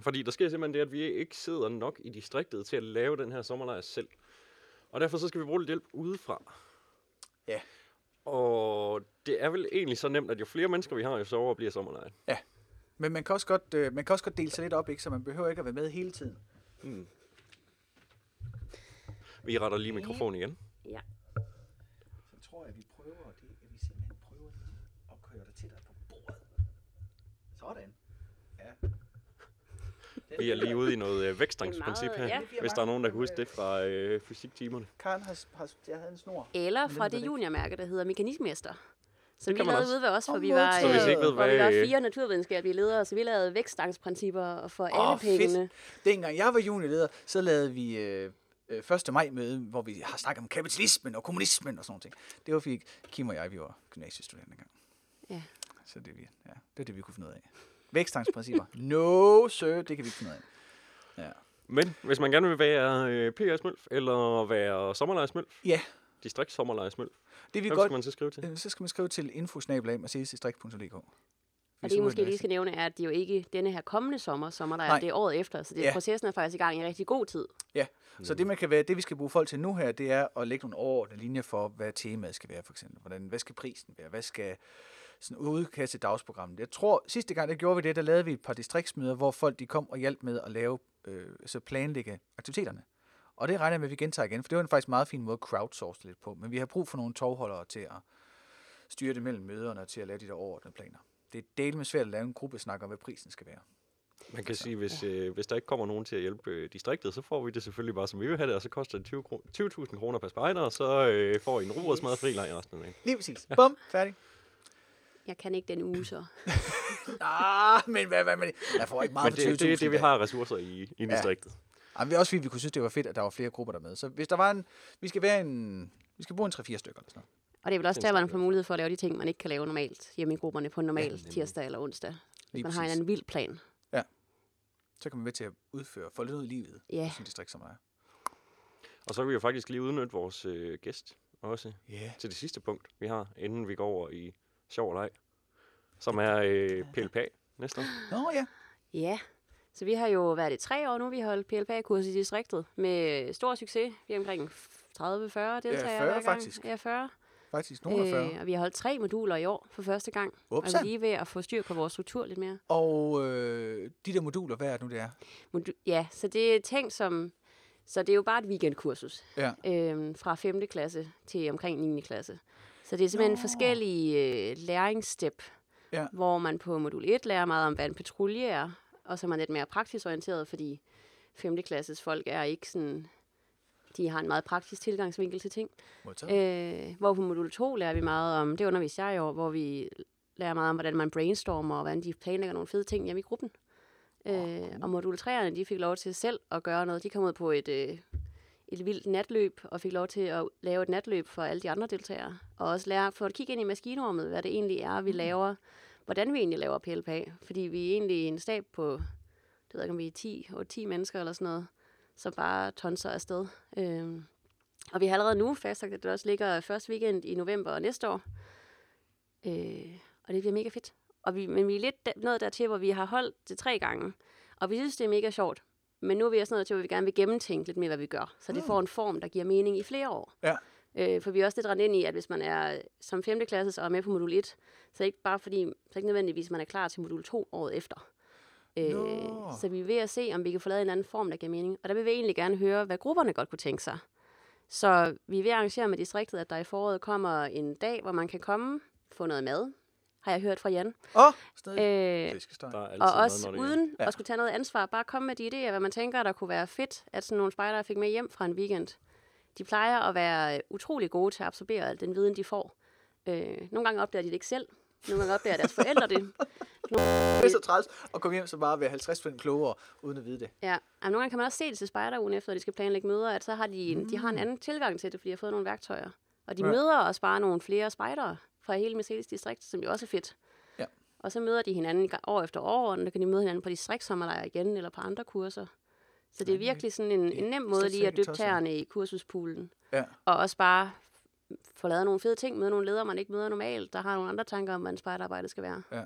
S1: Fordi der sker simpelthen det, at vi ikke sidder nok i distriktet til at lave den her sommerlejr selv. Og derfor så skal vi bruge lidt hjælp udefra.
S2: Ja.
S1: Og det er vel egentlig så nemt, at jo flere mennesker vi har, jo sjovere bliver sommerlejren.
S2: Men man kan, også godt, øh, man kan også godt dele sig lidt op, ikke? så man behøver ikke at være med hele tiden.
S1: Vi retter lige mikrofonen igen.
S3: Ja.
S2: Så tror jeg, at vi prøver det, at vi simpelthen prøver at køre dig tættere på bordet. Sådan. Ja.
S1: Vi er lige ude i noget øh, vækstrengsprincip
S3: vækstrengsprincip her,
S1: her,
S3: Det er
S1: ja. hvis der er nogen, der kan huske det fra øh, fysiktimerne.
S2: Karen har, har, jeg havde en snor.
S3: Eller
S2: Men
S3: fra
S2: den
S3: det
S2: ved
S3: juniormærke, der hedder Mekanikmester. Så
S1: Det
S3: vi
S1: kan man
S3: lavede
S1: også.
S3: ude ved os, for
S2: Åh,
S3: vi var,
S2: modtaget.
S3: øh,
S2: Så hvis I
S1: ikke ved,
S3: hvor vi
S1: hvad-
S3: var fire naturvidenskabelige ledere, så vi lavede vækstangstprincipper for
S2: Åh,
S3: alle pengene.
S2: Dengang jeg var juniorleder, så lavede vi øh, øh, 1. maj møde, hvor vi har snakket om kapitalismen og kommunismen og sådan noget. Det var fordi Kim og jeg, vi var gymnasiestuderende engang.
S3: Ja.
S2: Så det, vi, ja, det er det, vi kunne finde ud af. Vækstangsprincipper. no, sir, det kan vi ikke finde ud af. Ja.
S1: Men hvis man gerne vil være øh, PR-smølf, eller være sommerlejrsmølf,
S2: ja,
S1: distrikts-sommerlejrsmølf,
S2: det vi
S1: hvem
S2: godt...
S1: skal man så skrive til?
S2: Øh, Så skal man skrive til infosnabelag.mercedes-distrikt.dk.
S3: Og det, I måske lige skal nævne, er, at det jo ikke denne her kommende sommer, sommer der er,
S2: Nej.
S3: det er året efter. Så det,
S2: Ja.
S3: processen er faktisk i gang i rigtig god tid.
S2: Ja, så det, man kan være, det vi skal bruge folk til nu her, det er at lægge nogle overordnede linjer for, hvad temaet skal være, for eksempel. Hvordan, hvad skal prisen være? Hvad skal sådan udkast til dagsprogrammet? Jeg tror, sidste gang, der gjorde vi det, der lavede vi et par distriktsmøder, hvor folk de kom og hjalp med at lave, øh, så planlægge aktiviteterne. Og det regner jeg med, at vi gentager igen, for det var en faktisk meget fin måde at crowdsource lidt på. Men vi har brug for nogle tovholdere til at styre det mellem møderne og til at lave de der overordnede planer. Det er del med svært at lave en gruppesnak om, hvad prisen skal være.
S1: Man kan sige, hvis, øh, hvis der ikke kommer nogen til at hjælpe øh, distriktet, så får vi det selvfølgelig bare, som vi vil have det, og så koster det 20 kro- 20.000 kroner per spejder, og så øh, får I en roersmad fri lejr resten af dagen.
S2: Lige præcis. Bum, færdig.
S3: Jeg kan ikke den uge så.
S2: Ah, men hvad, hvad med det? Jeg får ikke meget
S1: Men
S2: for 20.000
S1: det, det er det, vi
S2: i dag.
S1: har af ressourcer i, i distriktet.
S2: Jamen, vi er også fordi, vi kunne synes, det var fedt, at der var flere grupper der med. Så hvis der var en... Vi skal være en... Vi skal bruge en 3-4 stykker eller sådan noget.
S3: Og det er vel også der, hvor man får mulighed for at lave de ting, man ikke kan lave normalt hjemme i grupperne på en normal ja, tirsdag eller onsdag. Hvis
S2: Lige
S3: man har en
S2: præcis.
S3: anden vild plan.
S2: Så kan man med til at udføre, få lidt ud i livet.
S3: Ja.
S2: i sådan et distrikt som mig.
S1: Og så kan vi jo faktisk lige udnytte vores øh, gæst også
S2: Ja.
S1: til det sidste punkt, vi har, inden vi går over i sjov og leg, som er øh, PLPA næste år.
S2: Nå ja.
S3: Ja, så vi har jo været i tre år nu, vi har holdt PLPA-kurs i distriktet med stor succes. Vi er omkring 30-40
S2: 40
S3: deltagere hver gang.
S2: faktisk.
S3: Ja, 40.
S2: Faktisk nogen af 40.
S3: og vi har holdt tre moduler i år for første gang. Øh, Og vi
S2: Upsa.
S3: er lige ved at få styr på vores struktur lidt mere.
S2: Og øh, de der moduler, hvad er det nu, det er?
S3: Modu- ja, så det er tænkt som... Så det er jo bare et weekendkursus.
S2: Ja.
S3: øhm, fra 5. klasse til omkring 9. klasse. Så det er simpelthen Nå. forskellige øh, læringsstep,
S2: Ja.
S3: hvor man på modul 1 lærer meget om, hvad en patrulje er, og så er man lidt mere praktisk orienteret, fordi 5. klasses folk er ikke sådan... De har en meget praktisk tilgangsvinkel til ting.
S2: Modtaget.
S3: Øh, hvor på modul 2 lærer vi meget om, det underviser jeg i år, hvor vi lærer meget om, hvordan man brainstormer, og hvordan de planlægger nogle fede ting hjemme i gruppen. Øh, og modul 3'erne, de fik lov til selv at gøre noget. De kom ud på et, øh, et vildt natløb, og fik lov til at lave et natløb for alle de andre deltagere. Og også lære, få et kig ind i maskinrummet, hvad det egentlig er, vi laver, hvordan vi egentlig laver PLPA. Fordi vi er egentlig en stab på, det ved jeg ikke, om vi er 10, 10 mennesker eller sådan noget, som bare tonser afsted. Øh, og vi har allerede nu fastsagt, at det også ligger første weekend i november næste år. Øh, og det bliver mega fedt. Og vi, men vi er lidt der, nået dertil, hvor vi har holdt det tre gange. Og vi synes, det er mega sjovt. Men nu er vi også nået til, hvor vi gerne vil gennemtænke lidt mere, hvad vi gør. Så det får en form, der giver mening i flere år.
S2: Ja.
S3: Øh, for vi er også lidt rendt ind i, at hvis man er som 5. klasse og er med på modul 1, så er det ikke bare fordi, så er det ikke nødvendigvis, at man er klar til modul 2 året efter. Øh,
S2: Nå.
S3: så vi er ved at se, om vi kan få lavet en anden form, der giver mening. Og der vil vi egentlig gerne høre, hvad grupperne godt kunne tænke sig. Så vi er ved at arrangere med distriktet, at der i foråret kommer en dag, hvor man kan komme, få noget mad, har jeg hørt fra Jan.
S2: Åh, oh, stadig.
S3: Øh,
S2: Fiskesteg.
S1: Der er altid
S3: og
S1: noget,
S3: også
S1: når det er-
S3: uden
S2: Ja.
S3: at skulle tage noget ansvar, bare komme med de idéer, hvad man tænker, der kunne være fedt, at sådan nogle spejdere fik med hjem fra en weekend. De plejer at være øh, utrolig gode til at absorbere al den viden, de får. Øh, nogle gange opdager de det ikke selv, nogle gange opdager deres forældre det.
S2: Det er så træls at komme hjem så bare være 50 klogere, uden at vide det.
S3: Ja, Jamen, nogle gange kan man også se det til spejderugen, efter at de skal planlægge møder, at så har de, en, de har en anden tilgang til det, fordi de har fået nogle værktøjer. Og de Mm. ja.
S2: Ja.
S3: møder også bare nogle flere spejdere fra hele Mercedes distrikt, som jo også er fedt.
S2: Ja.
S3: Og så møder de hinanden ga- år efter år, og så kan de møde hinanden på distriktssommerlejre igen, eller på andre kurser. Så det er virkelig sådan en, en nem måde
S2: slet
S3: lige at
S2: ikke
S3: dyppe
S2: tosset.
S3: tæerne i kursuspoolen.
S2: Ja.
S3: Og også bare få lavet nogle fede ting, møde nogle ledere, man ikke møder normalt, der har nogle andre tanker om, hvordan spejderarbejdet skal være.
S2: Ja.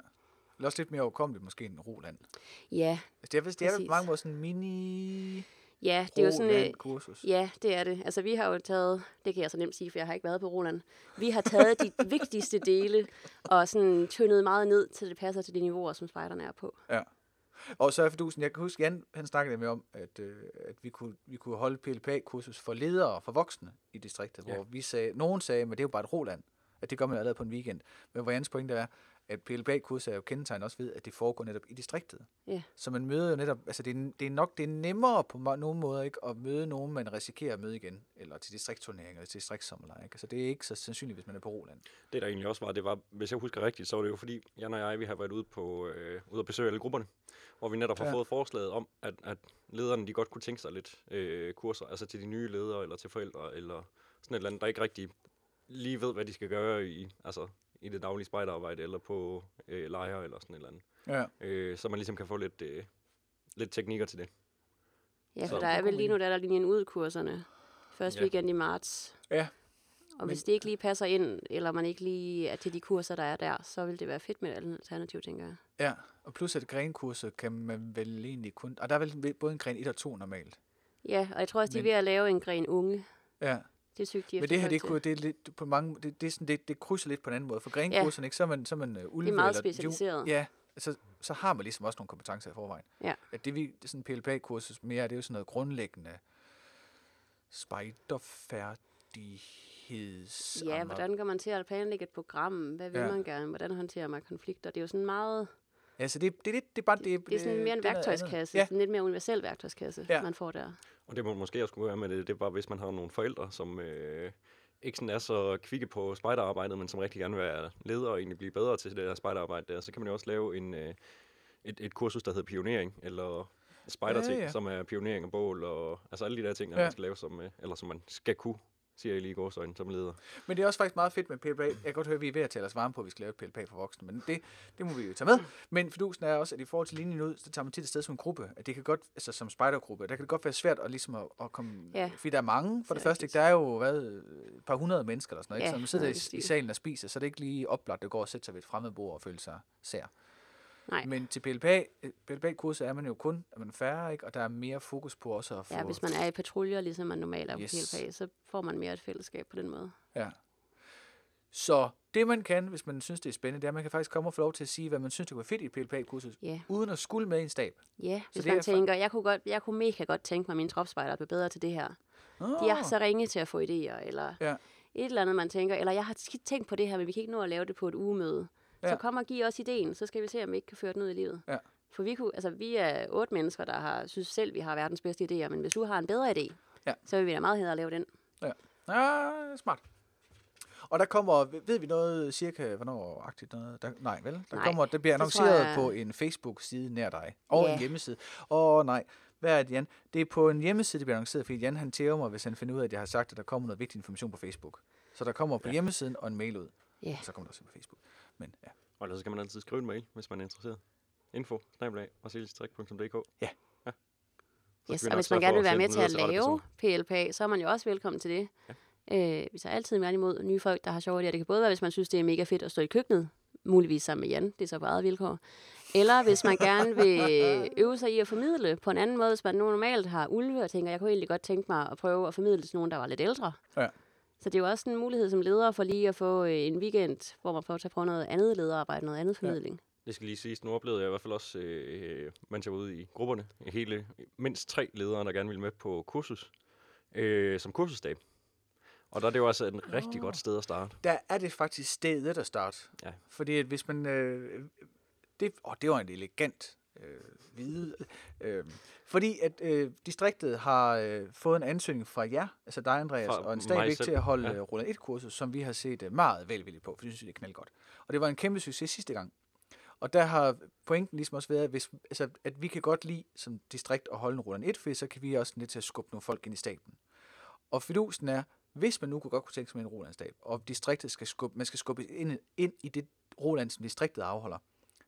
S2: Eller også lidt mere overkommeligt måske end Roland.
S3: Ja,
S2: Altså, det er, vist- det er vel
S3: Præcis.
S2: på mange måder sådan en mini
S3: ja det er jo sådan... Øh,
S2: Roland-kursus.
S3: ja, det er det. Altså, vi har jo taget... Det kan jeg så nemt sige, for jeg har ikke været på Roland. Vi har taget de vigtigste dele og sådan tyndet meget ned, til det passer til de niveauer, som spejderne er på.
S2: Ja. Og så er fordusen, jeg kan huske, Jan han snakkede med om, at, øh, at vi, kunne, vi kunne holde PLPA-kursus for ledere og for voksne i distriktet,
S1: Ja.
S2: hvor vi sagde, nogen sagde, men det er jo bare et roland, at det gør man allerede på en weekend. Men hvor Jans pointe er, at PLPA-kurset er jo kendetegnet også ved, at det foregår netop i distriktet.
S3: Ja.
S2: Så man møder jo netop, altså det er, det er nok det er nemmere på mo- nogle måder ikke at møde nogen, man risikerer at møde igen, eller til distriktsturneringer, eller til distriktssommerlejr. Ikke? Så det er ikke så sandsynligt, hvis man er på Roland.
S1: Det der egentlig også var, det var, hvis jeg husker rigtigt, så var det jo fordi, Jan og jeg, vi har været ude på øh, ude at besøge alle grupperne, hvor vi netop har
S2: Ja.
S1: fået forslaget om, at, at lederne de godt kunne tænke sig lidt øh, kurser, altså til de nye ledere, eller til forældre, eller sådan et eller andet, der ikke rigtig lige ved, hvad de skal gøre i, altså, i det daglige spejderarbejde, eller på øh, lejre, eller sådan et eller andet.
S2: Ja.
S1: Øh, så man ligesom kan få lidt, øh, lidt teknikker til det.
S3: Ja, for
S1: Så-
S3: der er vel lige nu, der er der linjen ud kurserne. Første
S1: Ja.
S3: weekend i marts.
S2: Ja,
S3: Og hvis det ikke lige passer ind, eller man ikke lige er til de kurser, der er der, så vil det være fedt med et alternativ, tænker jeg.
S2: Ja, og plus at grenkurset kan man vel egentlig kun... Og der er vel både en gren 1 og 2 normalt.
S3: Ja, og jeg tror også, de er
S2: Men-
S3: ved at lave en gren unge.
S2: Ja,
S3: Det synes de er
S2: men det her,
S3: folk
S2: det,
S3: til.
S2: kunne, det er lidt på mange... Det, det, er sådan, det, det krydser lidt på en anden måde. For grenkurserne, ja. ikke, så er man, så er man uh, ulve
S3: meget
S2: eller,
S3: specialiseret.
S2: Jo, ja, så, så har man ligesom også nogle kompetencer i forvejen.
S3: Ja.
S2: At det, vi det er sådan PLPA-kursus mere, det er jo sådan noget grundlæggende spejderfærdigheds...
S3: Ja, hvordan går man til at planlægge et program? Hvad vil
S2: Ja.
S3: ja. man gerne? Hvordan håndterer man konflikter? Det er jo sådan meget...
S2: Altså, det, det, er lidt, det er bare... Det,
S3: Det er sådan mere en
S2: Øh, det noget andet.
S3: værktøjskasse.
S2: Ja,
S3: Sådan lidt mere universel værktøjskasse,
S2: Ja.
S3: ja. man får der.
S1: Og det må måske også skulle være med det, det var, hvis man har nogle forældre, som øh, ikke sådan er så kvikke på spejderarbejdet, men som rigtig gerne vil være leder og egentlig blive bedre til det der spejderarbejde der, så kan man jo også lave en, øh, et, et kursus, der hedder pionering, eller spejderting,
S2: Ja,
S1: ja,
S2: ja.
S1: ja. som er pionering og bål, og altså alle de der ting, der
S2: Ja.
S1: ja. man skal lave, som, øh, eller som man skal kunne, siger jeg lige i gårsøjne, som leder.
S2: Men det er også faktisk meget fedt med PLPA. Jeg kan godt høre, at vi er ved at tale os varme på, at vi skal lave et PLPA for voksne, men det, det må vi jo tage med. Men fidusen er også, at i forhold til linjen ud, så tager man tit et sted som en gruppe. At det kan godt, altså som spejdergruppe, der kan det godt være svært at, ligesom at, at komme... Ja.
S3: Ja.
S2: Fordi der er mange. For det
S3: Det er
S2: første, ikke? der er jo hvad, et par hundrede mennesker eller sådan noget. Ikke?
S3: Ja,
S2: Så når man sidder
S3: noget
S2: i,
S3: i
S2: i,
S3: stil.
S2: salen og spiser, så er det ikke lige oplagt at gå og sætte sig ved et fremmed bord og føle sig sær.
S3: Nej.
S2: Men til PLPA, PLPA-kurset er man jo kun, at man er færre, ikke? og der er mere fokus på også at få...
S3: Ja, hvis man er i patruljer, ligesom man normalt er på
S2: Yes.
S3: yes. PLPA, så får man mere et fællesskab på den måde.
S2: Ja. Så det, man kan, hvis man synes, det er spændende, det er, at man kan faktisk komme og få lov til at sige, hvad man synes, det kunne være fedt i et PLPA-kursus,
S3: Ja.
S2: uden at skulle med i en stab.
S3: Ja, hvis
S2: det er
S3: man
S2: for-
S3: tænker, jeg kunne, godt, jeg kunne mega godt tænke mig, at mine tropspejder blev bedre til det her.
S2: Oh.
S3: De er så ringe til at få idéer, eller
S2: Ja.
S3: ja. et eller andet, man tænker, eller jeg har skidt tænkt på det her, men vi kan ikke nå at lave det på et ugemøde. Ja.
S2: Ja.
S3: Så kom og giv os ideen, så skal vi se, om vi ikke kan føre den ud i livet.
S2: Ja.
S3: For vi, kunne, altså, vi er otte mennesker, der har, synes selv, vi har verdens bedste idéer, men hvis du har en bedre idé,
S2: Ja.
S3: ja. så vil vi da meget hellere lave den.
S2: Ah, smart. Og der kommer, ved vi noget cirka, hvornår agtigt noget? Der, nej, vel? Der
S3: Nej,
S2: kommer, der bliver
S3: det tror
S2: annonceret jeg...
S3: jeg-
S2: på en Facebook-side nær dig. Og
S3: Ja.
S2: en hjemmeside. Åh oh, nej, hvad er det, Jan? Det er på en hjemmeside, det bliver annonceret, fordi Jan han tæver mig, hvis han finder ud af, at jeg har sagt, at der kommer noget vigtig information på Facebook. Så der kommer på ja. hjemmesiden og en mail ud.
S3: Ja.
S2: Og så kommer der også på Facebook. Men ja.
S1: Og ellers så kan man altid skrive en mail, hvis man er interesseret. Info, snabelag, marcelistrik.dk.
S2: Ja.
S1: Så
S3: Yes,
S1: skal vi
S3: og
S1: nok
S3: hvis
S1: sørge
S3: man gerne
S1: for
S3: vil være
S1: sende
S3: med
S1: den
S3: til
S1: videre
S3: at
S1: rette person.
S3: lave PLP, så er man jo også velkommen til det. Ja. Øh, vi tager altid gerne imod nye folk, der har sjove idéer. Det kan både være, hvis man synes, det er mega fedt at stå i køkkenet, muligvis sammen med Jan, det er så på eget vilkår. Eller hvis man gerne vil øve sig i at formidle på en anden måde, hvis man nu normalt har ulve og tænker, jeg kunne egentlig godt tænke mig at prøve at formidle til nogen, der var lidt ældre.
S2: Ja.
S3: Så det er jo også en mulighed som leder for lige at få øh, en weekend, hvor man får til at prøve noget andet lederarbejde, noget andet formidling.
S1: Det skal lige siges, nu oplevede jeg i hvert fald også, øh, mens jeg var ude i grupperne, hele, mindst tre ledere, der gerne ville med på kursus, øh, som kursusdag. Og der er det jo altså et rigtig godt sted at starte.
S2: der er det faktisk stedet at starte.
S1: Ja.
S2: Fordi at hvis man... Øh, det, åh, det var en elegant øh, hvide. Øh, fordi at øh, distriktet har øh, fået en ansøgning fra jer, altså dig, Andreas,
S1: Fra
S2: og en
S1: mig
S2: stadigvæk
S1: selv,
S2: til at holde øh,
S1: ja.
S2: ja. Roland 1-kursus, som vi har set øh, meget velvilligt på, for det synes vi, det knaldt godt. Og det var en kæmpe succes sidste gang. Og der har pointen ligesom også været, at, hvis, altså, at vi kan godt lide som distrikt at holde en Roland 1, for så kan vi også lidt til at skubbe nogle folk ind i staben. Og fidusen er, hvis man nu kunne godt kunne tænke sig med en Rolandsdag, og distriktet skal skubbe, man skal skubbe ind, ind i det Roland, som distriktet afholder,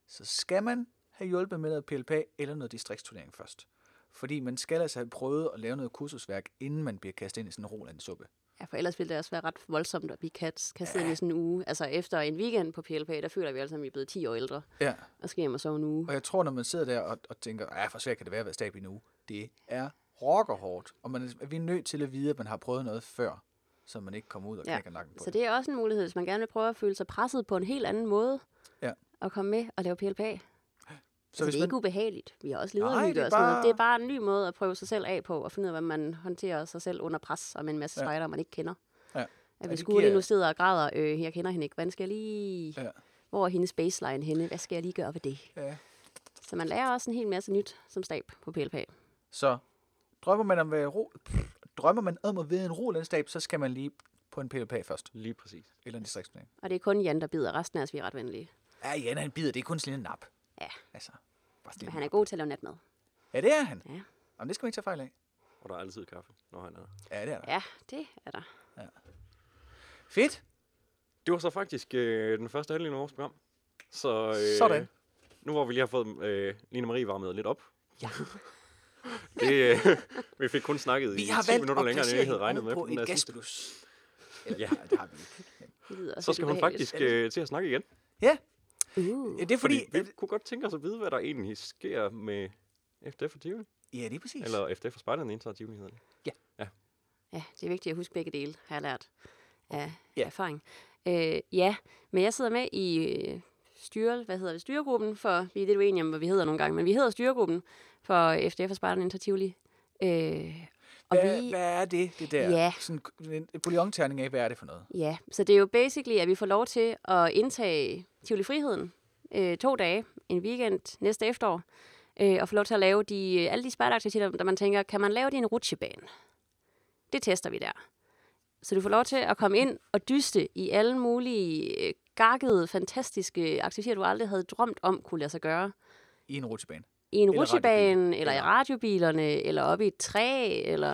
S2: så skal man have hjulpet med noget PLP eller noget distriktsturnering først. Fordi man skal altså have prøvet at lave noget kursusværk, inden man bliver kastet ind i sådan en Roland-suppe.
S3: Ja, for ellers ville det også være ret voldsomt, at vi kan, kan sidde i sådan en uge. Altså efter en weekend på PLP, der føler vi alle sammen, at vi er blevet 10 år ældre,
S2: Ja.
S3: og skal hjem og sove en uge.
S2: Og jeg tror, når man sidder der og, og tænker, ja, for svært kan det være at være stab i en uge. Det er rockerhårdt, og man er, vi er nødt til at vide, at man har prøvet noget før, så man ikke kommer ud og
S3: Ja,
S2: knækker nakken på
S3: Så det er også en mulighed, hvis man gerne vil prøve at føle sig presset på en helt anden måde,
S2: Ja.
S3: og komme med og lave PLP. Så altså, det er
S2: man-
S3: ikke ubehageligt. Vi har også
S2: Nej,
S3: lederhygge
S2: det er
S3: og sådan noget.
S2: bare-
S3: Det er bare en ny måde at prøve sig selv af på, og finde ud af, hvordan man håndterer sig selv under pres og med en masse
S2: Ja.
S3: ja. man ikke kender.
S2: Ja.
S3: At
S2: det
S3: hvis Gud lige
S2: giver-
S3: nu sidder og græder, øh, jeg kender hende ikke, hvordan skal jeg lige...
S2: Ja.
S3: Ja. Hvor er hendes baseline henne? Hvad skal jeg lige gøre ved det?
S2: Ja.
S3: Så man lærer også en hel masse nyt som stab på PLP.
S2: Så drømmer man om at være ro, pff, drømmer man om at være en rolandstab, så skal man lige på en PvP først.
S1: Lige præcis.
S2: Eller en distriktsplan.
S3: Og det er kun Jan, der bider. Resten af os, vi er ret venlige.
S2: Ja, Jan, han bider. Det er kun sådan en lille nap.
S3: Ja.
S2: Altså, bare
S3: Men
S2: stille.
S3: han er god til at lave natmad.
S2: Ja, det er han.
S3: Ja.
S2: Jamen, det skal man ikke tage fejl af.
S1: Og der er altid kaffe, når han er der.
S2: Ja, det er der.
S3: Ja, det er der.
S2: Fedt.
S1: Det var så faktisk øh, den første halvdel af vores program. Så, øh,
S2: Sådan.
S1: Nu hvor vi lige har fået øh, Line Marie varmet lidt op. Ja. det, øh, vi fik kun snakket i 10 minutter længere, end vi havde regnet med.
S2: på
S1: på den
S2: et
S1: der sidste.
S2: gasplus. Eller,
S1: Ja.
S2: ja. det har vi ikke.
S3: Det lyder også
S1: Så
S3: lidt
S1: skal hun
S3: ubehageligt.
S1: faktisk øh, til at snakke igen.
S2: Ja,
S3: Uh.
S2: ja, det er fordi...
S1: Fordi, vi kunne godt tænke os at vide, hvad der egentlig sker med FDF for Tivoli.
S2: Ja, det er præcis. Eller...
S1: Eller FDF for Spejderne indtager Tivoli, hedder det.
S3: Ja, det er vigtigt at huske begge dele, har jeg lært af
S2: Ja.
S3: ja. erfaring. Øh, ja, men jeg sidder med i øh, styre, hvad hedder det, styregruppen for, vi er lidt uenige om, hvad vi hedder nogle gange, men vi hedder styregruppen for FDF og Spartan Inter Tivoli. Øh, og
S2: Hvad,
S3: vi,
S2: hvad er det, det der?
S3: Ja.
S2: Sådan en bouillonterning af, hvad er det for noget?
S3: ja, så det er jo basically, at vi får lov til at indtage Tivoli Friheden øh, to dage, en weekend næste efterår, øh, og få lov til at lave de, øh, alle de spejderaktiviteter, der man tænker, kan man lave det i en rutsjebane? Det tester vi der. Så du får lov til at komme ind og dyste i alle mulige øh, gakkede, fantastiske aktiviteter, du aldrig havde drømt om kunne lade sig gøre.
S2: I en rutsjebane.
S3: I en
S2: Eller
S3: rutsjebane,
S2: radiobil.
S3: eller i
S2: Ja.
S3: radiobilerne, eller oppe i et træ, eller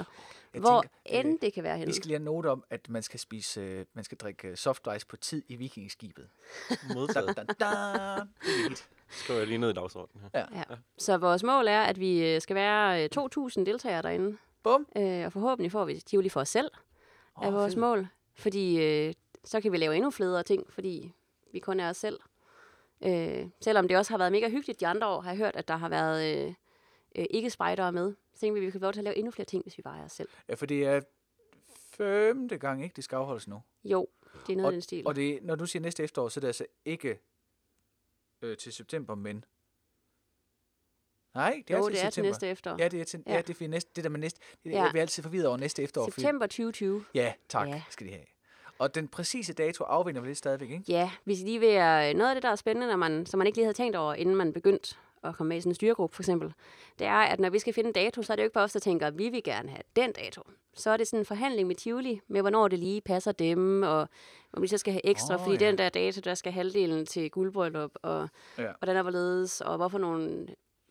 S2: Jeg
S3: hvor
S2: tænker, øh,
S3: end det kan være henne.
S2: Vi skal lige have note om, at man skal spise, øh, man skal drikke øh, soft ice på tid i vikingskibet. Da,
S1: Modtaget.
S2: da, da. Det er vigtigt.
S1: Skriver jeg lige ned i dagsordenen her.
S3: Ja. Så vores mål er, at vi øh, skal være øh, 2.000 deltagere derinde.
S2: Bum.
S3: Øh, og forhåbentlig får vi Tivoli for os selv, oh, er
S2: Åh,
S3: vores
S2: fedt.
S3: mål. Fordi øh, så kan vi lave endnu fledere ting, fordi vi kun er os selv. Øh, selvom det også har været mega hyggeligt de andre år, har jeg hørt, at der har været øh, øh, ikke spejdere med. Så tænkte vi, at vi kan få lov til at lave endnu flere ting, hvis vi bare er os selv.
S2: Ja, for det er femte gang, ikke? Det skal afholdes nu.
S3: Jo, det er noget af den stil.
S2: Og det, når du siger næste efterår, så er det altså ikke øh, til september, men... Nej, det er
S3: jo,
S2: til
S3: det er til
S2: september.
S3: næste efterår.
S2: Ja, det er til, ja.
S3: Ja.
S2: det er for næste, det der med næste, det,
S3: Ja.
S2: ja. vi er altid forvirret over næste efterår. fordi-
S3: September 2020.
S2: Ja, tak ja.
S3: Ja.
S2: skal de have. Og den præcise dato afvinder vi lidt stadigvæk, ikke?
S3: Ja, vi skal lige være noget af det, der er spændende, når man, som man ikke lige havde tænkt over, inden man begyndte at komme med i sådan en styregruppe, for eksempel, det er, at når vi skal finde en dato, så er det jo ikke bare os, der tænker, at vi vil gerne have den dato. Så er det sådan en forhandling med Tivoli, med hvornår det lige passer dem, og om de så skal have ekstra,
S2: Åh,
S3: oh, fordi
S2: ja.
S3: den der dato, der skal halvdelen til guldbryllup, og
S2: Ja.
S3: hvordan er hvorledes, og hvorfor nogle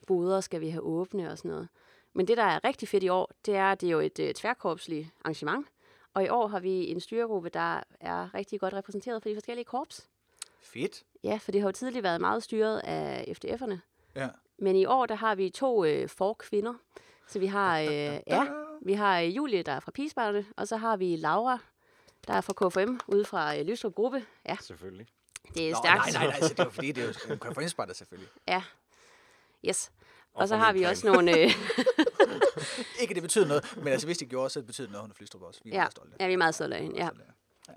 S3: boder skal vi have åbne og sådan noget. Men det, der er rigtig fedt i år, det er, at det er jo et øh, tværkorpsligt arrangement, og i år har vi en styregruppe, der er rigtig godt repræsenteret for de forskellige korps.
S2: Fedt.
S3: Ja, for det har jo tidligere været meget styret af FDF'erne.
S2: Ja.
S3: Men i år, der har vi to øh, forkvinder. Så vi har, øh, ja, vi har øh, Julie, der er fra Pigesparterne, og så har vi Laura, der er fra KFM, ude fra øh, Lystrup Gruppe. Ja,
S1: Selvfølgelig.
S3: det er
S2: Nå,
S3: stærkt.
S2: nej, nej, nej, så det er jo fordi, det er jo en konferencepartner selvfølgelig.
S3: Ja, yes. Og,
S1: Og
S3: så
S1: fra
S3: har
S1: min
S3: vi
S1: plan.
S3: også nogle... Øh,
S2: Ikke, at det betyder noget, men altså, hvis det gjorde, så betyder det noget under Flystrup også. Vi er
S3: ja,
S2: meget stolte.
S3: ja, vi er meget stolte af hende. Ja.
S2: Stolte af.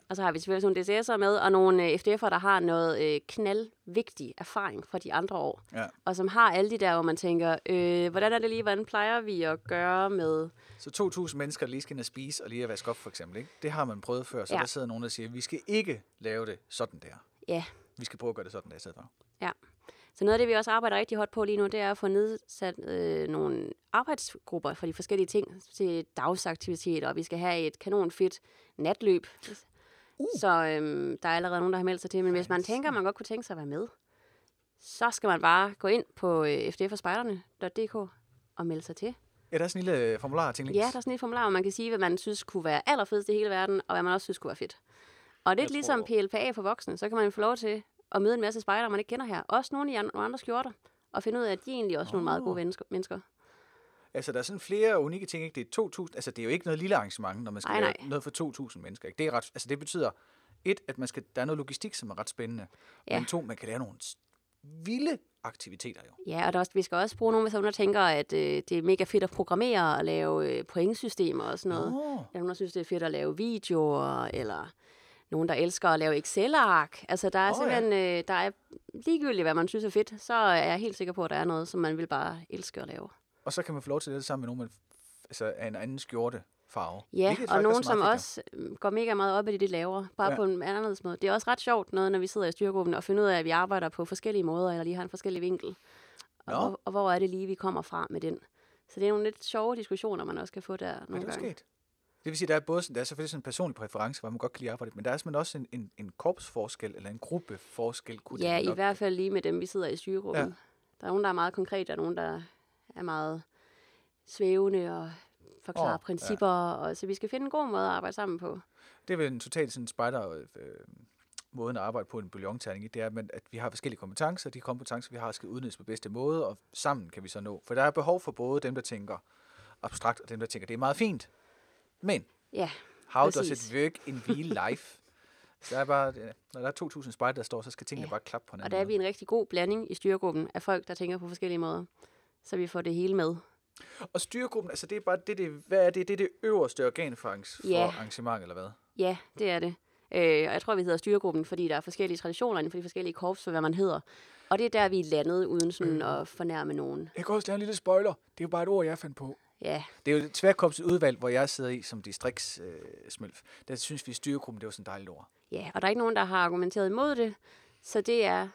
S3: Og så har vi selvfølgelig også nogle DCS'er med, og nogle øh, FDF'er, der har noget øh, knaldvigtig erfaring fra de andre år.
S2: Ja.
S3: Og som har alle de der, hvor man tænker, øh, hvordan er det lige, hvordan plejer vi at gøre med
S2: Så 2.000 mennesker, der lige skal ind og spise og lige at vaske op, for eksempel. Ikke? Det har man prøvet før, så ja.
S3: Ja.
S2: der sidder nogen, der siger, vi skal ikke lave det sådan der.
S3: Ja.
S2: Vi skal prøve at gøre det sådan der i stedet for.
S3: Så noget af det, vi også arbejder rigtig hårdt på lige nu, det er at få nedsat øh, nogle arbejdsgrupper for de forskellige ting til dagsaktiviteter, og vi skal have et kanonfedt natløb. Uh. Så øhm, der er allerede nogen, der har meldt sig til, men hvis man tænker, at man godt kunne tænke sig at være med, så skal man bare gå ind på øh, fdforspejderne.dk og melde sig til.
S2: Ja, der er sådan en lille øh, formular ting.
S3: Ja, der er sådan et formular, hvor man kan sige, hvad man synes kunne være allerfedest i hele verden, og hvad man også synes kunne være fedt. Og lidt
S1: Jeg
S3: ligesom PLPA for voksne, så kan man få lov til at møde en masse spejdere,
S2: Ah.
S3: man ikke kender her. Også nogle i an- nogle andre skjorter, og finde ud af, at de egentlig også er nogle meget gode vennesker- mennesker.
S2: Altså, der er sådan flere unikke ting, ikke? Det er 2.000, altså det er jo ikke noget lille arrangement, når man skal
S3: Nej,
S2: nej,
S3: nej.
S2: nej. noget for 2.000 mennesker, ikke? Det, er ret, altså, det betyder, et, at man skal, der er noget logistik, som er ret spændende,
S3: Ja.
S2: ja. men to, man kan lave nogle s- vilde aktiviteter jo.
S3: Ja, og der er også, vi skal også bruge nogen, hvis der er nogen, der tænker, at øh, det er mega fedt at programmere og lave øh, pointsystemer og sådan noget. Oh.
S2: Åh,
S3: Der er nogen, der synes, det er fedt at lave videoer, eller nogen, der elsker at lave Excel-ark. Altså, der er oh,
S2: Åh, ja.
S3: simpelthen, ja. øh, der er ligegyldigt, hvad man synes er fedt, så er jeg helt sikker på, at der er noget, som man vil bare elske at lave.
S2: Og så kan man få lov til at lave det sammen med nogen, man f- altså, af en anden skjorte farve.
S3: Ja,
S2: Hvilket faktisk
S3: og
S2: er
S3: nogen,
S2: så meget
S3: som
S2: fedt, jo.
S3: også øh, går mega meget op i det, de laver, bare ja.
S2: Ja.
S3: på en anderledes måde. Det er også ret sjovt noget, når vi sidder i styrgruppen og finder ud af, at vi arbejder på forskellige måder, eller lige har en forskellig vinkel. Og,
S2: Nå.
S3: hvor, og hvor er det lige, vi kommer fra med den. Så det er nogle lidt sjove diskussioner, man også kan få der
S2: Ja,
S3: nogle
S2: det er
S3: gange.
S2: sket. Det vil sige, der er både sådan, der er selvfølgelig sådan en personlig præference, hvor man godt kan lide at arbejde, men der er simpelthen også en, en, en korpsforskel, eller en gruppeforskel. Kunne
S3: Ja,
S2: det
S3: i
S2: nok.
S3: hvert fald lige med dem, vi sidder i styregruppen. Ja.
S2: Ja.
S3: Der er nogen, der er meget konkret, og nogen, der er meget svævende og forklarer oh,
S2: Åh, ja.
S3: principper. Ja. Og, så vi skal finde en god måde at arbejde sammen på.
S2: Det er vel en totalt sådan spider øh, måden at arbejde på en bouillonterning i, det er, men at vi har forskellige kompetencer, og de kompetencer, vi har, skal udnyttes på bedste måde, og sammen kan vi så nå. For der er behov for både dem, der tænker abstrakt, og dem, der tænker, det er meget fint, men
S3: Ja,
S2: how does
S3: Præcis.
S2: it work in real life? Så der er bare, øh, når der er 2.000 spejder, der står, så skal tingene
S3: Ja.
S2: ja. bare klappe på
S3: og
S2: hinanden.
S3: der er vi en rigtig god blanding i styregruppen af folk, der tænker på forskellige måder. Så vi får det hele med.
S2: Og styregruppen, altså det er bare det, det, hvad er det, det er det øverste organ for, arrange- for
S3: Ja.
S2: arrangement, eller hvad?
S3: Ja, det er det. Øh, og jeg tror, vi hedder styregruppen, fordi der er forskellige traditioner inden for de forskellige korps, for hvad man hedder. Og det er der, vi er landet, uden sådan at fornærme nogen.
S2: Jeg kan også lave en lille spoiler. Det er jo bare et ord, jeg fandt på.
S3: Ja,
S2: Det er jo et tværkorpset udvalg, hvor jeg sidder i som distriktsmølf. Øh, smølf. der synes vi, styregruppen, det var sådan et dejligt ord.
S3: ja, og der er ikke nogen, der har argumenteret imod det. Så det er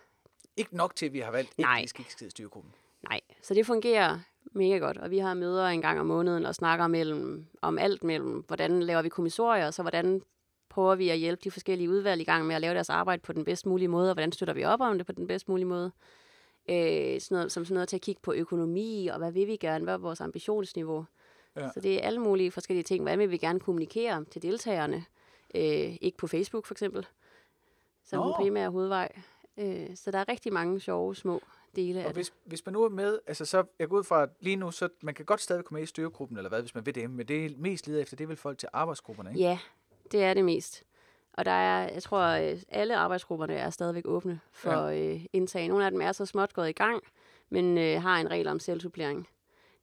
S2: Ikke nok til, at vi har valgt, at
S3: Nej.
S2: vi skal ikke skide styregruppen.
S3: Nej, så det fungerer mega godt, og vi har møder en gang om måneden og snakker mellem, om alt mellem, hvordan laver vi kommissorier, og så hvordan prøver vi at hjælpe de forskellige udvalg i gang med at lave deres arbejde på den bedst mulige måde, og hvordan støtter vi op om det på den bedst mulige måde. Øh, sådan noget, som sådan noget til at kigge på økonomi, og hvad vil vi gerne, hvad er vores ambitionsniveau. Ja.
S2: Ja.
S3: Så det er alle mulige forskellige ting. Hvordan vil vi gerne kommunikere til deltagerne? Øh, ikke på Facebook for eksempel, som den
S2: Nå.
S3: primære hovedvej. Øh, så der er rigtig mange sjove små dele af
S2: Og
S3: det.
S2: hvis, hvis man nu er med, altså så, jeg går ud fra at lige nu, så man kan godt stadig komme med i styregruppen, eller hvad, hvis man vil det, men det er mest leder efter, det er vel folk til arbejdsgrupperne, ikke?
S3: Ja, det er det mest. Og der er, jeg tror, øh, alle arbejdsgrupperne er stadigvæk åbne for ja. øh, indtag. Nogle af dem er så småt gået i gang, men øh, har en regel om selvsupplering.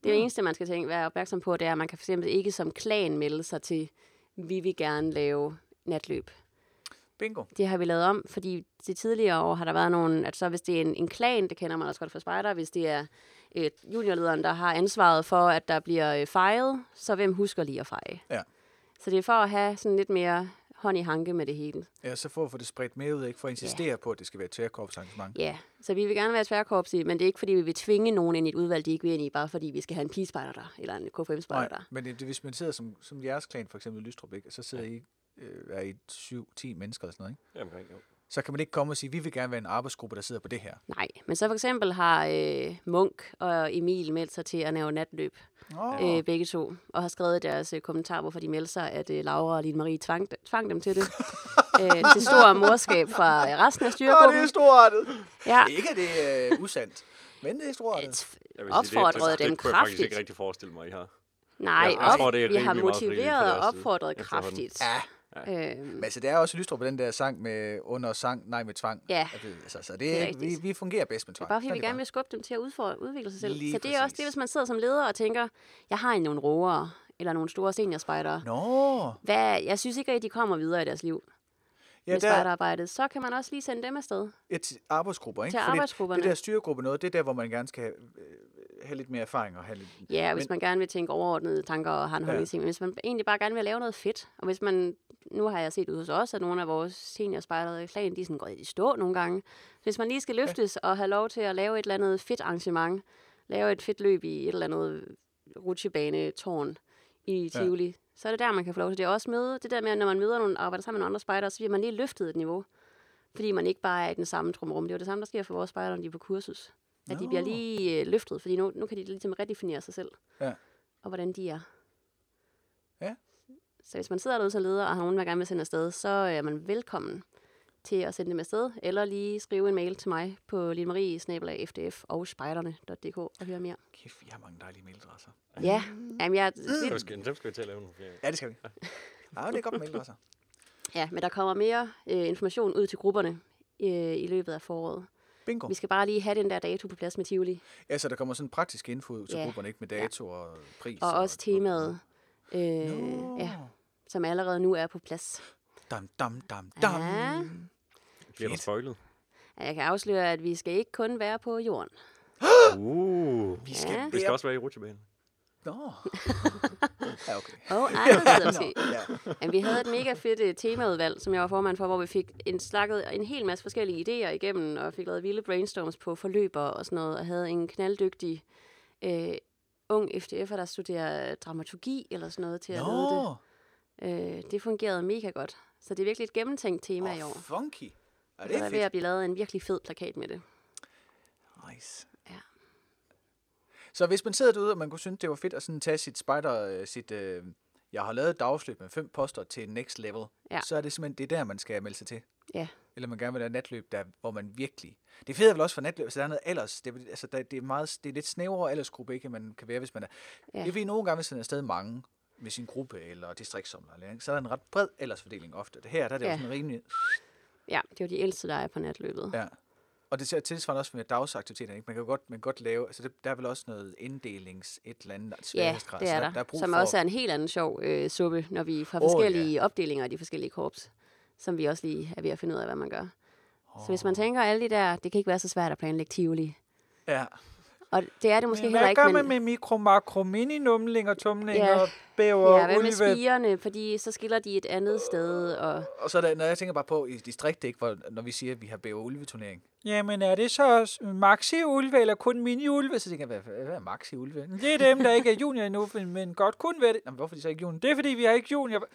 S3: Det mm. eneste, man skal tænke, være opmærksom på, det er, at man kan fx ikke som klan melde sig til, vi vil gerne lave natløb.
S2: Bingo.
S3: Det har vi lavet om, fordi de tidligere år har der været nogen, at så hvis det er en, en klan, det kender man også godt fra spejder, hvis det er øh, juniorlederen, der har ansvaret for, at der bliver øh, fejret, så hvem husker lige at feje?
S2: Ja.
S3: Så det er for at have sådan lidt mere hånd i hanke med det hele.
S2: ja, så for at få det spredt mere ud, ikke? For at insistere på, at det skal være et tværkorpsarrangement.
S3: Ja, så vi vil gerne være tværkorps i, men det er ikke, fordi vi vil tvinge nogen ind i et udvalg, de ikke vil ind i, bare fordi vi skal have en pigespejder der, eller en KFM-spejder der.
S2: men det, det, hvis man sidder som, som jeres klan, for eksempel i Lystrup, ikke? så sidder I, øh, er I 7-10 mennesker eller sådan noget, ikke?
S1: Ja, omkring, jo.
S2: så kan man ikke komme og sige, vi vil gerne være en arbejdsgruppe, der sidder på det her.
S3: Nej, men så for eksempel har øh, Munk og Emil meldt sig til at lave natløb,
S2: Oh.
S3: øh, begge to, og har skrevet i deres øh, kommentar, hvorfor de meldte sig, at øh, Laura og Line Marie tvang, tvang dem til det. øh, det store morskab fra øh, resten af
S2: det er
S3: styregruppen.
S2: storartet.
S3: Ja,
S2: Ikke at det er øh, usandt, men det er storartet.
S1: Jeg vil sige, det-
S3: opfordrede
S1: det, det,
S3: dem
S1: det kunne jeg faktisk ikke
S3: kraftigt.
S1: rigtig forestille mig, I har.
S3: Nej,
S1: Jeg- jeg
S3: op,
S1: tror, det er
S3: vi har
S1: rimelig meget frivilligt fra
S3: motiveret og
S1: deres side
S3: opfordret
S1: efterhånden.
S3: kraftigt.
S2: Ja,
S3: Øhm,
S2: men altså, det er også i Lystrup på den der sang med under sang, nej med tvang.
S3: Ja.
S2: At det- Altså, så det,
S3: er
S2: det
S3: rigtigt.
S2: vi, vi fungerer bedst med tvang.
S3: bare fordi
S2: Sådan
S3: vi
S2: er det
S3: gerne vil skubbe dem til at udfordre, udvikle sig selv.
S2: Lige
S3: så det er også
S2: præcis.
S3: det, hvis man sidder som leder og tænker, jeg har nogle roere, eller nogle store seniorspejdere.
S2: bare. Nå,
S3: Hvad, jeg synes ikke, at de kommer videre i deres liv ja,
S2: ja,
S3: med
S2: der,
S3: spejderarbejdet. Så kan man også lige sende dem afsted.
S2: Ja, til arbejdsgrupper, ikke?
S3: Til arbejdsgrupperne.
S2: Det der styregruppe noget, det er der, hvor man gerne skal have, øh, have lidt mere erfaring og have lidt...
S3: Ja, hvis man gerne vil tænke overordnede tanker og har en holdning til ting. Men Hvis man egentlig bare gerne vil lave noget fedt. Og hvis man, nu har jeg set ud hos os, at nogle af vores seniorspejdere i klagen, de er sådan gået i stå nogle gange. Hvis man lige skal løftes og have lov til at lave et eller andet fedt arrangement, lave et fedt løb i et eller andet rutsjebanetårn i
S2: Ja.
S3: Tivoli, så er det der, man kan få lov til det. Og Også møde, det der med, at når man møder nogle, arbejder sammen med nogle andre spejdere, så bliver man lige løftet et niveau. Fordi man ikke bare er i den samme trumrum. Det er jo det samme, der sker for vores spejdere, når de er på kursus. At de bliver
S2: Nå.
S3: lige øh, løftet, fordi nu, nu kan de ligesom redefinere sig selv
S2: Ja.
S3: og hvordan de er.
S2: Ja.
S3: Så hvis man sidder derude som leder, og har nogen, man gerne vil sende afsted, så er man velkommen til at sende dem afsted, eller lige skrive en mail til mig på linemarie-fdf og spejderne.dk og høre mere.
S2: Kæft, vi har mange dejlige mailadresser.
S3: Ja, jamen jeg,
S1: Dem skal, dem skal vi til at lave nogle flere.
S2: Ja, det skal vi. Ja, det er godt med mailadresser.
S3: ja, men der kommer mere øh, information ud til grupperne øh, i løbet af foråret.
S2: Bingo.
S3: Vi skal bare lige have den der dato på plads med Tivoli,
S2: Ja, så der kommer sådan praktisk info ud til
S3: Ja.
S2: grupperne, ikke med dato og pris.
S3: og også temaet, øh,
S2: Nå.
S3: ja, som allerede nu er på plads.
S2: Dam, dam, dam, dam.
S3: Ja.
S1: Bliver der spoilet?
S3: Ja, Jeg kan afsløre, at vi skal ikke kun være på jorden.
S1: Uh.
S2: Vi skal
S3: Ja.
S1: Vi skal
S2: være-
S1: også være i rutsjebanen.
S2: Nå. Ja, okay.
S3: Og andre
S2: Nå,
S3: ting.
S2: ja.
S3: Men vi havde et mega fedt øh, temaudvalg, som jeg var formand for, hvor vi fik en slakket en hel masse forskellige idéer igennem, og fik lavet vilde brainstorms på forløber og sådan noget, og havde en knalddygtig øh, ung FDF'er, der studerer dramaturgi eller sådan noget til at lede det.
S2: Nå,
S3: Øh, det fungerede mega godt. Så det er virkelig et gennemtænkt tema i
S2: oh,
S3: år.
S2: funky. Ja,
S3: Og
S2: det
S3: der
S2: er
S3: er ved at
S2: fedt.
S3: blive lavet en virkelig fed plakat med det.
S2: Nice.
S3: Ja.
S2: Så hvis man sidder derude, og man kunne synes, det var fedt at sådan tage sit spider, øh, sit, øh, jeg har lavet et dagsløb med fem poster til next level,
S3: Ja.
S2: så er det simpelthen det er der, man skal melde sig til.
S3: Ja.
S2: Eller man gerne vil have natløb, der, hvor man virkelig... Det fede er vel også for natløb, så der er noget alders. Det, er- altså, der, det, er meget, det er lidt snævrere aldersgruppe, ikke, end man kan være, hvis man er...
S3: Ja.
S2: Ja. Det er fordi, nogle gange, hvis man er afsted mange med sin gruppe eller distriktsomler, eller, ikke, så er der en ret bred aldersfordeling ofte. Det her der er det
S3: Ja.
S2: jo sådan rimelig...
S3: Ja, det var de ældste, der er på natløbet.
S2: Ja. Og det ser tilsvarende også med dagsaktiviteterne. Ikke? Man kan jo godt, man kan godt lave... Altså, det, der er vel også noget inddelings et eller andet
S3: Ja,
S2: sværhedsgrad.
S3: det
S2: så der,
S3: er
S2: der er
S3: der.
S2: brug
S3: Som
S2: for...
S3: også er en helt anden sjov øh, suppe, når vi fra
S2: Åh, ja.
S3: forskellige opdelinger af de forskellige korps, som vi også lige er ved at finde ud af, hvad man gør. Så hvis man tænker alle de der, det kan ikke være så svært at planlægge Tivoli.
S2: Ja.
S3: Og det er det måske heller
S2: hvad gør
S3: ikke,
S2: man med mikro, makro, mini-numling og tumling
S3: Ja.
S2: og bæver
S3: ja,
S2: og
S3: hvad med
S2: ulve?
S3: spirene, fordi så skiller de et andet sted, og
S2: Og så er der, når jeg tænker bare på i distriktet, ikke, hvor, når vi siger, at vi har bæver ulve turnering Jamen er det så maxi-ulve eller kun mini-ulve? Så tænker jeg, hvad, hvad er maxi-ulve? Det er dem, der ikke er junior endnu, men godt kunne være det. Jamen, hvorfor er de så ikke junior? Det er fordi, vi har ikke junior.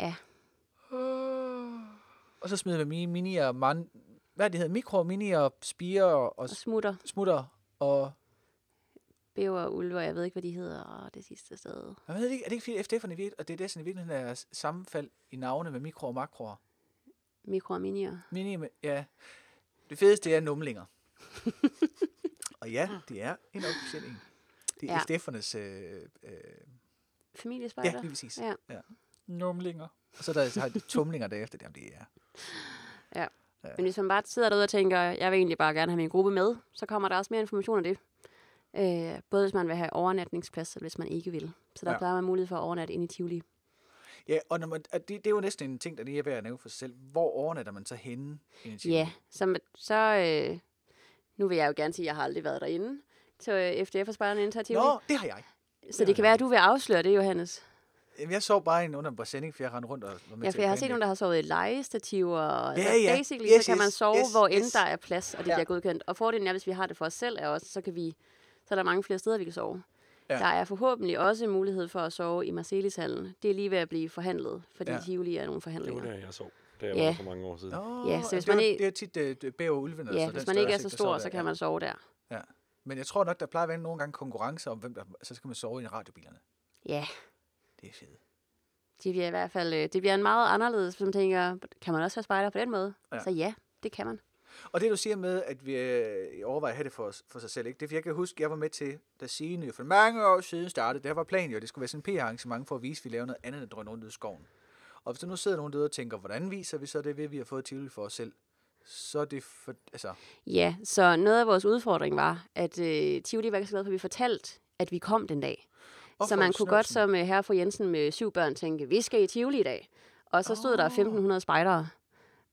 S3: ja,
S2: Øh. Og så smider vi mini, mini og man, hvad er det hedder, mikro, mini og spire og, og
S3: og smutter,
S2: smutter og...
S3: bæver og ulve, og jeg ved ikke, hvad de hedder, og det sidste sted.
S2: Jeg ved ikke, er det ikke fordi FDF'erne virkelig, og det er det, sådan i virkeligheden er s- sammenfald i navne med mikro og makroer?
S3: Mikro og minier.
S2: Mini, med- ja. Det fedeste er numlinger. og ja, det er en officiel en. Det er
S3: Ah. Ja.
S2: ja. FDF'ernes... Øh, øh,
S3: Familiespejder.
S2: ja, lige præcis.
S3: Ja.
S2: Numlinger. Og så er der, så har de tumlinger derefter. Jamen, det er...
S3: Men hvis man bare sidder derude og tænker, jeg vil egentlig bare gerne have min gruppe med, så kommer der også mere information om det. Øh, både hvis man vil have overnatningsplads, og hvis man ikke vil. Så der ja.
S2: Ja.
S3: plejer man mulighed for at overnatte ind i Tivoli.
S2: Ja, og når man, og det, det, er jo næsten en ting, der lige er værd at nævne for sig selv. Hvor overnatter man så henne? inde i Tivoli?
S3: Ja, så, så øh, nu vil jeg jo gerne sige, at jeg har aldrig været derinde til øh, FDF og Sparerne ind til Tivoli.
S2: Nå, det har jeg.
S3: så det kan være, at du vil afsløre det, Johannes.
S2: Jamen, jeg så bare en under en sending, for jeg rendte rundt og var med
S3: Ja,
S2: til
S3: for jeg har
S2: at
S3: set
S2: planlægge.
S3: nogen, der har sovet i legestativer. og
S2: Ja,
S3: altså,
S2: ja.
S3: Basically,
S2: Yes,
S3: så kan man
S2: yes,
S3: sove,
S2: yes,
S3: hvor end
S2: yes.
S3: der er plads, og det
S2: Ja.
S3: bliver godkendt. Og fordelen er, hvis vi har det for os selv, er også, så kan vi, så er der mange flere steder, vi kan sove.
S2: Ja.
S3: Ja. Der er forhåbentlig også mulighed for at sove i Marcelishallen. Det er lige ved at blive forhandlet, fordi ja.
S2: Ja.
S3: Tivoli er nogle
S1: Det var
S3: forhandlinger.
S1: der, jeg så. Det
S3: Ja.
S1: var for mange år siden.
S2: Nå,
S3: Ja, så hvis
S2: det
S3: man
S2: er jo-
S3: ikke-
S2: Det er tit øh, det- bæver og ulven.
S3: Ja, hvis man ikke er så stor, så kan man sove der.
S2: Ja. Men jeg tror nok, der plejer at være nogle gange konkurrencer om, hvem der... Så skal man sove i radiobilerne.
S3: Ja,
S2: Det er fedt.
S3: det bliver i hvert fald øh, det bliver en meget anderledes, hvis man tænker, kan man også være spejder på den måde? Ja.
S2: Ja.
S3: Så ja, det kan man.
S2: Og det, du siger med, at vi øh, overvejer at have det for, os, for sig selv, ikke? det er, for jeg kan huske, jeg var med til, da Signe jo for mange år siden startede, det her var planen jo, det skulle være sådan en PR-arrangement for at vise, at vi laver noget andet end at drøne rundt ud i skoven. Og hvis der nu sidder nogen derude og tænker, hvordan viser vi så det ved, at vi har fået Tivoli for os selv? Så er det for, altså,
S3: Ja, så noget af vores udfordring var, at øh, Tivoli var ikke så glad for, at vi fortalte, at vi kom den dag.
S2: Hvorfor
S3: så man kunne godt
S2: snupsen?
S3: som øh, herre fru Jensen med syv børn tænke, vi skal i Tivoli i dag. Og så stod oh. der 1500 spejdere.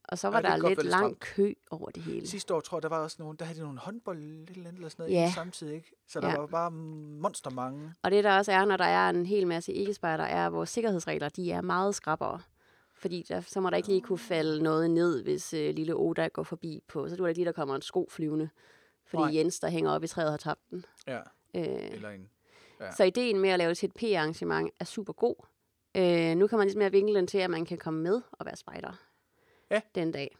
S3: Og så var
S2: Ja, Ah. det
S3: der
S2: kan godt
S3: lidt
S2: være lidt
S3: lang kø over det hele.
S2: Sidste år, tror jeg, der var også nogen, der havde de nogle håndbold et eller andet eller sådan noget
S3: Ja.
S2: ja. samtidig, ikke? Så der
S3: Ja.
S2: ja. var bare monster mange.
S3: Og det der også er, når der er en hel masse ikke-spejder, er, at vores sikkerhedsregler de er meget skrappere. Fordi der, så må der ikke lige
S2: Ah.
S3: kunne falde noget ned, hvis øh, lille Oda går forbi på. Så du er det lige, der kommer en sko flyvende. Fordi
S2: Nej.
S3: Jens, der hænger op i træet, har tabt den.
S2: Ja,
S3: Øh,
S2: eller en. Ja.
S3: Så ideen med at lave det til et PR-arrangement er super god. Øh, nu kan man ligesom mere vinkle den til, at man kan komme med og være spejder
S2: Ja.
S3: den dag.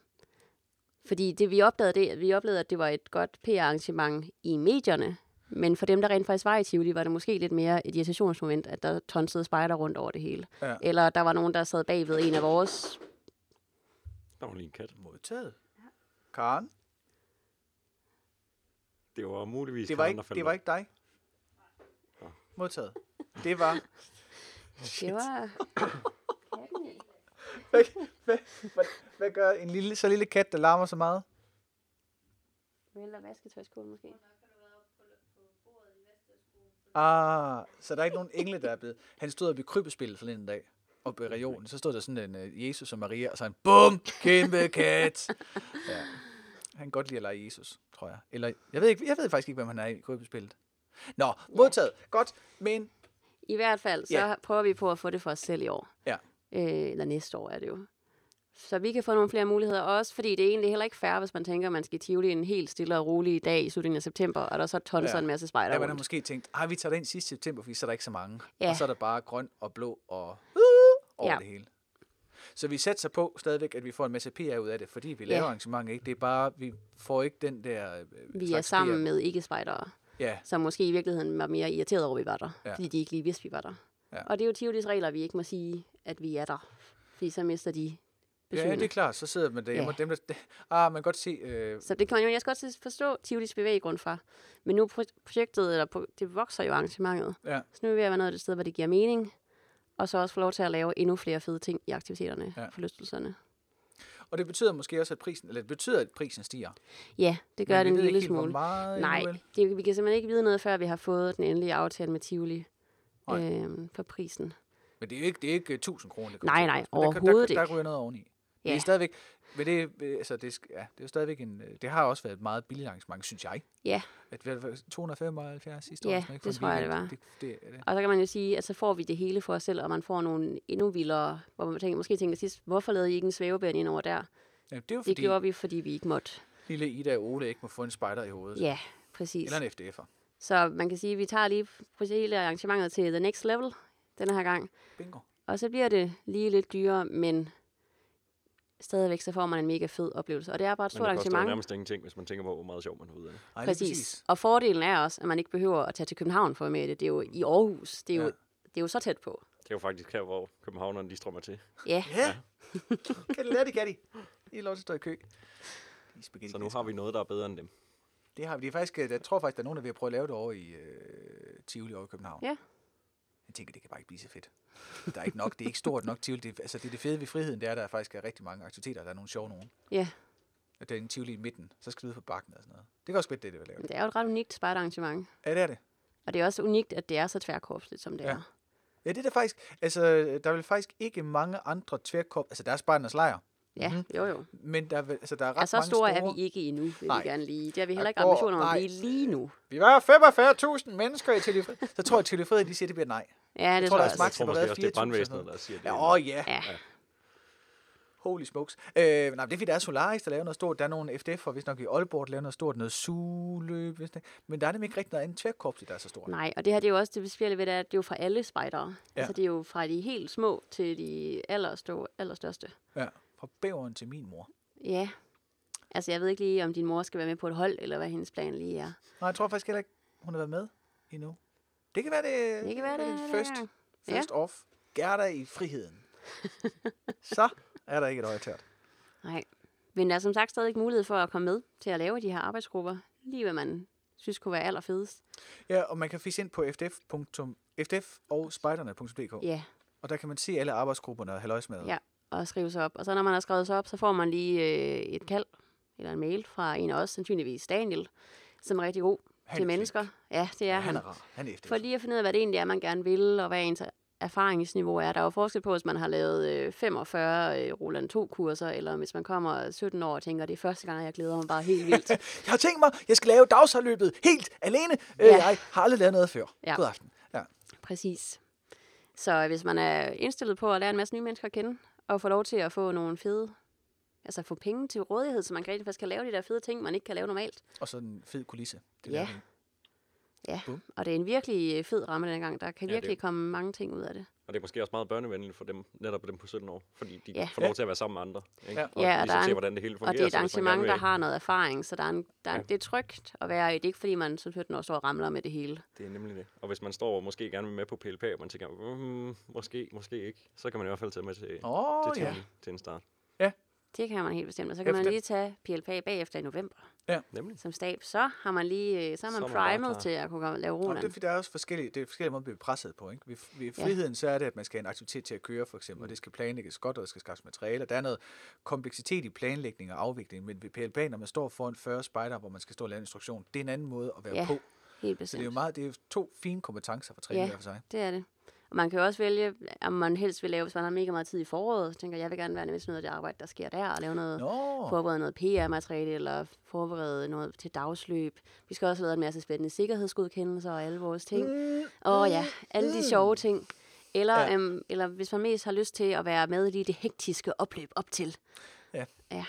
S3: Fordi det, vi opdagede, det, vi oplevede, at det var et godt PR-arrangement i medierne, men for dem, der rent faktisk var i Tivoli, var det måske lidt mere et irritationsmoment, at der tonsede spejder rundt over det hele.
S2: Ja.
S3: Eller der var nogen, der sad bagved en af vores
S1: Der var lige en kat.
S2: Modtaget. Karen,
S1: Det var muligvis
S2: det var,
S1: Karen,
S2: ikke,
S1: der faldt
S2: det var
S1: ned.
S2: ikke dig. Modtaget. Det var...
S3: Det var...
S2: Hvad, hvad, hvad gør en lille, så lille kat, der larmer så meget?
S3: Vælter vasketøjskolen måske.
S2: Ah, så der er ikke nogen engle, der er blevet... Han stod og blev krybespillet forleden en dag og i regionen. Så stod der sådan en uh, Jesus og Maria, og så en BUM! Kæmpe kat! Ja. Han kan godt lide at lege Jesus, tror jeg. Eller, jeg ved, ikke, jeg ved faktisk ikke, hvem han er i krybespillet. Nå, modtaget. Godt, men...
S3: I hvert fald, så
S2: Ja.
S3: ja. prøver vi på at få det for os selv i år.
S2: Ja.
S3: Øh, eller næste år er det jo. Så vi kan få nogle flere muligheder også, fordi det er egentlig heller ikke fair, hvis man tænker, at man skal i Tivoli en helt stille og rolig dag i slutningen af september, og der er så tonser
S2: Ja.
S3: ja. en masse spejder
S2: Der var der
S3: rundt.
S2: måske tænkt, ah, vi tager det ind sidste september, fordi så er der ikke så mange. Ja.
S3: Ja.
S2: Og så er der bare grøn og blå og over ja.
S3: Ja.
S2: det hele. Så vi satser på stadigvæk, at vi får en masse PR ud af det, fordi vi laver ja. arrangementet, ikke? Det er bare, vi får ikke den der... øh,
S3: Vi er
S2: slags
S3: sammen
S2: PR.
S3: med ikke-spejdere,
S2: Ja,
S3: som måske i virkeligheden var mere irriteret over, at vi var der,
S2: Ja.
S3: ja. fordi de ikke lige vidste, vi var der.
S2: Ja.
S3: Ja. Og det er jo Tivolis regler, at vi ikke må sige, at vi er der, fordi så mister de
S2: Ja, ja,
S3: besøgende.
S2: det er klart. Så sidder man derhjemme, ja. og dem, der... Ah, man kan godt se... Øh,
S3: Så det kan man jo også godt forstå Tivolis bevæggrund fra. Men nu er pro- projektet, eller pro- det vokser jo arrangementet.
S2: ja,
S3: Så nu er vi ved at være noget af det sted, hvor det giver mening. Og så også få lov til at lave endnu flere fede ting i aktiviteterne,
S2: Ja.
S3: ja. forlystelserne.
S2: og det betyder måske også, at prisen... Eller det betyder, at prisen stiger.
S3: Ja, det gør
S2: Men
S3: det
S2: vi
S3: en
S2: ved ikke
S3: lille
S2: helt, hvor
S3: smule.
S2: meget endnu,
S3: Nej,
S2: vel?
S3: det, vi kan simpelthen ikke vide noget, før vi har fået den endelige aftale med Tivoli
S2: Nej.
S3: øhm, for prisen.
S2: Men det er jo ikke, det er ikke øh, 1000 kroner. det
S3: Nej,
S2: koster.
S3: nej,
S2: Men der kan-
S3: overhovedet
S2: der, der, der
S3: ikke.
S2: ryger noget oveni. Ja. Det er
S3: Ja.
S2: stadigvæk... Men det, øh, altså, det, sk- ja, det er jo stadigvæk en... øh, Det har også været et meget billigt arrangement, synes jeg.
S3: Ja.
S2: At vi har 275 sidste år.
S3: Ja,
S2: sådan noget, ikke? For
S3: det
S2: en
S3: tror jeg, det
S2: weekend.
S3: var.
S2: Det, det, er det.
S3: Og så kan man jo sige, at så får vi det hele for os selv, og man får nogle endnu vildere, hvor man tænker, måske tænker sidst, hvorfor lavede I ikke en svævebane ind over der?
S2: Ja,
S3: Fordi...
S2: det er jo
S3: Det
S2: fordi,
S3: gjorde vi, fordi vi ikke måtte.
S2: lille Ida og Ole ikke må få en spejder i hovedet.
S3: Ja, præcis.
S2: Eller en FDF'er.
S3: Så man kan sige, at vi tager lige proje- hele arrangementet til the next level den her gang.
S2: Bingo.
S3: Og så bliver det lige lidt dyrere, men stadigvæk så får man en mega fed oplevelse. Og det er bare et
S1: Men
S3: stort
S1: det koster jo
S3: arrangement.
S1: nærmest ingenting, hvis man tænker på, hvor meget sjov man har ud af det.
S2: Ej, lige
S3: Præcis. præcis. Og fordelen er også, at man ikke behøver at tage til København for at være med i det. Det er jo i Aarhus. Det er, jo,
S2: Ja.
S3: det er jo så tæt på.
S1: Det er jo faktisk her, hvor københavnerne de strømmer til.
S3: Ja,
S2: Ja. kan det lade det, kan de. I er lov til at stå i kø. I spaghetti
S1: Så nu har vi noget, der er bedre end dem.
S2: Det har vi. Det er faktisk, øh, jeg tror faktisk, der er nogen, der vil prøve at lave det over i øh, Tivoli over i København.
S3: Ja.
S2: Jeg tænker, det kan bare ikke blive så fedt. Der er ikke nok, det er ikke stort nok Tivoli. Det, er- altså, det er det fede ved friheden, det er, at der faktisk er rigtig mange aktiviteter, og der er nogle sjove nogen.
S3: ja.
S2: At der er en Tivoli i midten, så skal du ud på bakken og sådan noget. Det kan også godt det, det vil lave.
S3: Men det er jo et ret unikt spejderarrangement.
S2: Ja, det er det.
S3: Og det er også unikt, at det er så tværkorpsligt, som det
S2: Ja.
S3: ja. er.
S2: Ja, det er der faktisk, altså, der er vel faktisk ikke mange andre tværkop, altså der er Spartans lejr,
S3: Ja, mm-hmm. jo jo.
S2: men der er, vel, altså, der er ret
S3: Ja, så
S2: Mhm. mange
S3: store
S2: store...
S3: er vi ikke endnu, vil
S2: Nej.
S3: vi gerne lige. Det har vi
S2: Der
S3: heller ikke
S2: går-
S3: ambitioner om
S2: nej.
S3: at blive lige nu.
S2: Vi var 45.000 mennesker i Tivoli. så tror jeg, at Tivoli Friheden, de siger, det bliver et nej.
S3: Ja, det
S2: Jeg
S3: jeg
S2: tror,
S3: tror,
S2: der
S3: jeg
S2: er
S3: også.
S1: Jeg
S2: smagt-
S1: tror
S2: har
S1: måske
S2: været
S1: også, det er
S2: 24.000
S1: brandvæsenet, der siger det.
S2: Ja, åh ja.
S3: Ja.
S2: Holy smokes. Øh, nej, det er fordi, der er Solaris, der laver noget stort. Der er nogle FDF'er, hvis nok i Aalborg, der laver noget stort. Noget sugeløb, hvis nok. Men der er nemlig ikke rigtig noget andet tværkorps, der er så stort.
S3: Nej, og det her det er jo også det bespjælde ved det, er, at det er jo fra alle spejdere.
S2: Ja.
S3: Ja. Altså det er jo fra de helt små til de allerstå, allerstørste.
S2: Ja. Fra bæveren til min mor.
S3: Ja. Altså jeg ved ikke lige, om din mor skal være med på et hold, eller hvad hendes plan lige er.
S2: Nej, jeg tror faktisk heller ikke, hun har været med endnu. Det kan være det,
S3: Det kan være det.
S2: er
S3: er
S2: first,
S3: dengang. Ja.
S2: first off. Gerda i friheden. så er der ikke et øje tært.
S3: Nej. Men der er som sagt stadig ikke mulighed for at komme med til at lave de her arbejdsgrupper. Lige hvad man synes kunne være allerfedest.
S2: Ja, og man kan fiske ind på fdf. fdf og spejderne.dk,
S3: Ja,
S2: og der kan man se alle arbejdsgrupperne og halvøjs med.
S3: ja. Og skrive sig op. Og så når man har skrevet sig op, så får man lige øh, et kald eller en mail fra en af os, sandsynligvis Daniel, som er rigtig god
S2: Han er
S3: til
S2: flink.
S3: mennesker. Ja, det er
S2: Ja,
S3: han.
S2: han er rar. Han er FDF.
S3: For lige at finde ud af, hvad det egentlig er, man gerne vil, og hvad ens erfaringsniveau er. Der er jo forskel på, hvis man har lavet øh, 45 øh, Roland 2-kurser, eller hvis man kommer 17 år og tænker, det er første gang, jeg glæder mig bare helt vildt.
S2: Jeg har tænkt mig, jeg skal lave dagsforløbet helt alene. Ja.
S3: Ja.
S2: Jeg har aldrig lavet noget før. Ja.
S3: Ja.
S2: God aften. Ja.
S3: Præcis. Så hvis man er indstillet på at lære en masse nye mennesker at kende, og få lov til at få nogle fede, altså få penge til rådighed, så man kan rent faktisk kan lave de der fede ting, man ikke kan lave normalt.
S2: Og så en fed kulisse. Det
S3: Ja.
S2: der med-
S3: Ja,
S2: Bum.
S3: og det er en virkelig øh, fed ramme den gang. Der kan
S1: Ja, det-
S3: virkelig komme mange ting ud af det.
S1: Og det er måske også meget børnevenligt for dem, netop dem på 17 år, fordi de
S3: Ja.
S1: får lov til at være sammen med andre. Ikke?
S2: Ja.
S1: Og
S3: Ja, og der
S1: ligesom
S3: er
S1: se,
S3: en-
S1: hvordan det hele fungerer.
S3: Og det er et
S1: så hvis man
S3: arrangement,
S1: gerne
S3: der
S1: vil-
S3: har noget erfaring, så der er en, der er,
S1: Ja.
S3: ja. det er trygt at være i. Det er ikke, fordi man som 17 år står og ramler med det hele.
S1: Det er nemlig det. Og hvis man står og måske gerne vil med på PLP, og man tænker, mm, måske, måske ikke, så kan man i hvert fald tage med til,
S2: Åh,
S1: til,
S2: ja.
S1: Tivoli til en start.
S3: Det kan man helt bestemt. Og så
S2: Ja,
S3: kan man
S2: for
S3: lige tage PLP bagefter i november
S1: Nemlig.
S3: som stab. Så har man lige øh, så er
S1: Så
S3: man
S1: er man bare
S3: primet
S1: klar.
S3: til at kunne komme- lave
S2: Nå, men det
S3: Roland.
S2: er, fordi der er også forskellige, det er forskellige måder, at blive presset på. Ikke? Ved, ved
S3: Ja. Mm.
S2: friheden, så er det, at man skal have en aktivitet til at køre, for eksempel, og det skal planlægges godt, og der skal skaffes materialer. Der er noget kompleksitet i planlægning og afvikling, men ved PLP, når man står foran 40 spejder, hvor man skal stå og lave en instruktion, det er en anden måde at være
S3: Ja,
S2: på. Så
S3: Helt
S2: det er jo
S3: bestemt.
S2: meget, det er jo to fine kompetencer for træning
S3: Ja.
S2: hver for sig.
S3: Det er det. Og man kan jo også vælge, om man helst vil lave, hvis man har mega meget tid i foråret. Så tænker jeg, jeg vil gerne være med til noget af det arbejde, der sker der, og lave noget,
S2: Nå,
S3: forberede noget PR-materiale, eller forberede noget til dagsløb. Vi skal også have lavet en masse spændende sikkerhedsgodkendelser og alle vores ting. Og ja, alle de sjove ting. Eller,
S2: Ja.
S3: ja. øhm, eller hvis man mest har lyst til at være med i det hektiske opløb op til.
S2: Ja.
S3: ja.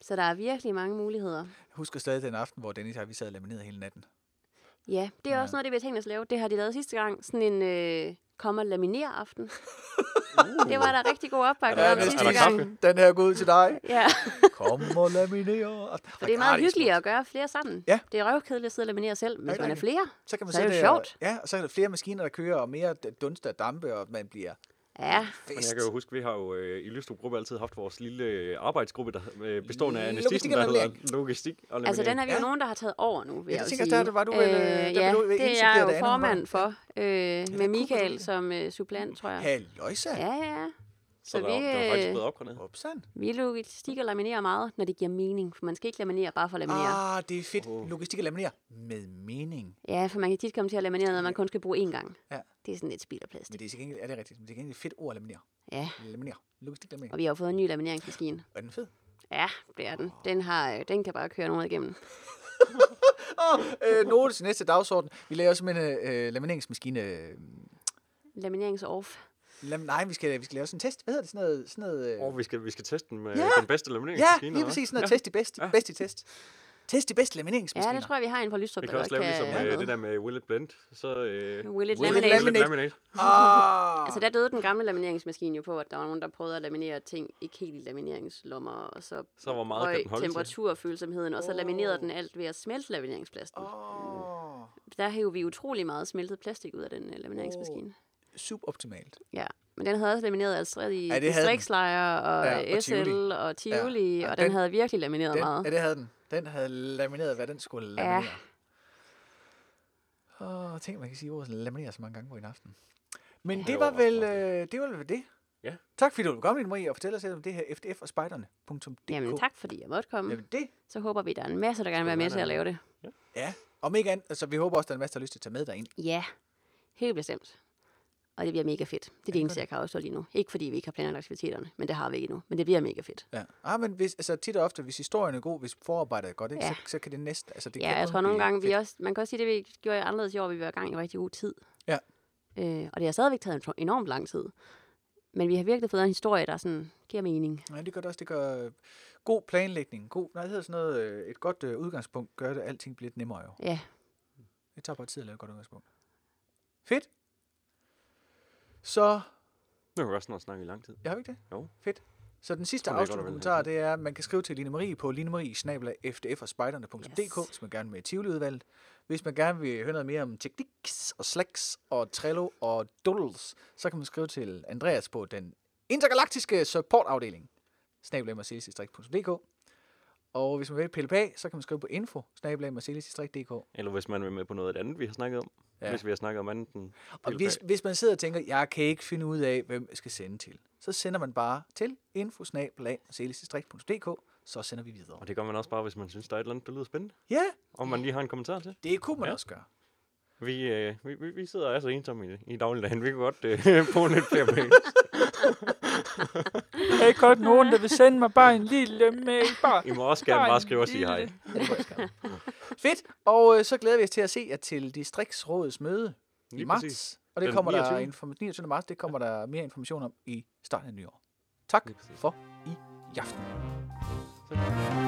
S3: Så der er virkelig mange muligheder.
S2: jeg husker stadig den aften, hvor Dennis og jeg, vi sad og lamineret hele natten.
S3: Ja, det er ja. også noget, af det vi har tænkt os at lave. Det har de lavet sidste gang. Sådan en øh, kom og laminer aften. uh. Det var der rigtig god opbakning
S1: Ja,
S3: om
S1: det er
S3: sidste
S1: der
S3: gang.
S1: kaffe?
S2: den her går ud til dig.
S3: Ja,
S2: Kom og laminere.
S3: for det er meget hyggeligt at gøre flere sammen.
S2: Ja.
S3: Det er røvkedeligt at sidde og laminere selv, men
S2: Ja,
S3: hvis man er
S2: rigtig.
S3: flere.
S2: Så kan man
S3: Så er det
S2: sidde
S3: jo
S2: der-
S3: sjovt.
S2: Ja, og så er der flere maskiner, der kører, og mere d- dunst og dampe, og man bliver
S3: Ja,
S1: Men jeg kan jo huske, vi har jo øh, i Lystrup Gruppe altid haft vores lille øh, arbejdsgruppe, der øh, bestående af Anne
S2: Logistik
S1: Stissen,
S2: og
S1: der hedder
S2: laminering.
S1: Logistik og
S3: altså den
S1: Laminering.
S3: er vi jo
S2: Ja.
S3: nogen, der har taget over nu, vil
S2: Ja,
S3: jeg
S2: det
S3: jo
S2: tænker jeg,
S3: sige.
S2: der var du vel, øh, der
S3: ja,
S2: blev du
S3: det er
S2: indsuppleret
S3: jeg
S2: af
S3: jo
S2: Anne, var
S3: formand
S2: det?
S3: for, øh, med
S2: kunne du
S3: Michael
S2: det.
S3: som øh, supplant, tror jeg.
S2: Halløjsa.
S3: Ja, ja, ja.
S1: Så
S3: Så
S1: der, var- der var faktisk
S3: vi,
S1: blevet
S3: øh,
S1: opgraderet.
S2: Upsan.
S3: vi logistik og laminerer meget, når det giver mening. For man skal ikke laminere bare for at laminere.
S2: Ah, det er fedt. Logistik at laminere med mening.
S3: Ja, for man kan tit komme til at laminere noget, man kun skal bruge én gang.
S2: Ja.
S3: Det er sådan lidt spild af plast.
S2: Men det er til gengæld, er det rigtigt, men det er til gengæld et fedt ord at laminere.
S3: Ja,
S2: Laminere. Logistik laminere.
S3: og vi har jo fået en ny lamineringsmaskine.
S2: Er den fed?
S3: Ja, det er den. Den, har, øh, den kan bare køre nogen igennem.
S2: Åh, øh, note til næste dagsorden. Vi laver simpelthen øh, lamineringsmaskine. øh,
S3: Laminerings-off.
S2: Lam- nej, vi skal, vi skal lave sådan en test. Hvad hedder det? Sådan noget... Sådan noget øh,
S1: Og vi skal, vi skal teste den med
S2: Ja.
S1: den bedste lamineringsmaskine.
S2: ja,
S1: eller
S2: lige
S1: hvad?
S2: præcis sådan noget ja. test i bedst. Ja. Bedst i test. Test i bedst lamineringsmaskine.
S3: Ja, det tror jeg, vi har en fra Lystrup,
S1: Vi kan også lave ligesom øh, det der med Will It Blend. Så, øh,
S3: Will it
S2: Will it
S3: laminate?
S1: Will it
S2: laminate?
S1: laminate.
S2: Ah.
S3: Altså, der døde den gamle lamineringsmaskine jo på, at der var nogen, der prøvede at laminere ting, ikke helt i lamineringslommer, og så,
S1: Så hvor meget
S3: høj
S1: kan den holde til?
S3: temperaturfølsomheden, og så laminerede den alt ved at smelte lamineringsplasten.
S2: Åh.
S3: Der hævde vi utrolig meget smeltet plastik ud af den øh, lamineringsmaskine.
S2: Suboptimalt.
S3: Ja, men den havde også lamineret altså i
S2: Ja, det havde den.
S3: distriktslejre og,
S2: Ja,
S3: ja,
S2: og
S3: og
S2: Tivoli.
S3: SL og Tivoli,
S2: Ja,
S3: ja,
S2: ja,
S3: og den,
S2: den-
S3: havde virkelig lamineret
S2: Den,
S3: meget.
S2: ja, det havde den. Den havde lamineret, hvad den skulle laminere. Ja. Åh, tænk, man kan sige ordet laminere så mange gange på en aften. Men det
S1: Det
S2: var, vel,
S1: overrasker
S2: øh, det var vel det.
S1: Ja.
S2: Tak fordi du ville komme ind, Marie, og fortælle os lidt om det her FDF og spejderne.dk.
S3: Jamen tak, fordi jeg måtte komme.
S2: Jamen det,
S3: Så håber vi, der er en masse, der gerne vil være med til at lave det.
S2: ja. Om ikke andet, altså vi håber også, der er en masse, der har lyst til at tage med derind.
S3: Ja, helt bestemt. Og det bliver mega fedt. Det er det eneste, jeg kan afstå lige nu. Ikke fordi vi ikke har planlagt aktiviteterne, men det har vi ikke endnu. Men det bliver mega fedt.
S2: Ja. Ah, men hvis, altså tit og ofte, hvis historien er god, hvis forarbejdet er godt, ikke,
S3: Ja.
S2: så, så, kan det næste, altså det
S3: Ja,
S2: kan
S3: jeg
S2: kun
S3: tror nogle
S2: blive
S3: gange, vi
S2: fedt.
S3: også, man kan også sige, det vi gjorde anderledes i år, vi var i gang i rigtig god tid.
S2: Ja.
S3: Øh, og det har stadigvæk taget en tro- enormt lang tid. Men vi har virkelig fået en historie, der sådan giver mening.
S2: Nej, det gør det også. Det gør øh, god planlægning. God, nej, det hedder sådan noget, øh, et godt øh, udgangspunkt gør det, at alting bliver lidt nemmere jo.
S3: Ja,
S2: Det tager bare tid at lave et godt udgangspunkt. Fedt. Så,
S1: Nu har vi også snart snakket i lang tid.
S2: jeg har vi ikke det?
S1: Jo.
S2: Fedt. Så den sidste
S1: Tror jeg godt,
S2: afsluttende
S1: at vi
S2: kommentar,
S1: vil
S2: det er, at man kan skrive til Line Marie på linemarie-fdfogspejderne.dk, yes.
S3: Yes.
S2: hvis man gerne vil med i Tivoli-udvalget. Hvis man gerne vil høre noget mere om tekniks og slacks og Trello og doodles, så kan man skrive til Andreas på den intergalaktiske supportafdeling, snabelagmercedesdistrikt.dk. Og hvis man vil pille bag, så kan man skrive på info, snabelagmercedesdistrikt.dk.
S1: Eller hvis man vil med på noget af det andet, vi har snakket om.
S2: Ja.
S1: Ja. Hvis vi har snakket om andet end...
S2: Og hvis, hvis man sidder og tænker, jeg kan ikke finde ud af, hvem jeg skal sende til, så sender man bare til infosnabelag.dk, så sender vi videre.
S1: Og det gør man også bare, hvis man synes, der er et eller andet, der lyder spændende.
S2: Ja,
S1: Om man lige har en kommentar til.
S2: det kunne man ja.
S1: Ja.
S2: også gøre.
S1: Vi, øh, vi, vi, vi sidder altså ensomme i, i dagligdagen. Vi kan godt øh, bruge lidt flere mail.
S4: Der er ikke godt nogen, der vil sende mig bare en lille mail. Bare.
S1: I må også gerne bare skrive og sige hej.
S2: Det kunne jeg også gøre. Fedt, og øh, så glæder vi os til at se jer til Distriktsrådets møde i
S1: Lige
S2: marts.
S1: præcis.
S2: Og det
S1: Den
S2: kommer
S1: 29..
S2: der inform- 29. marts, det kommer der mere information om i starten af nyår. Tak for i aften.
S1: Så.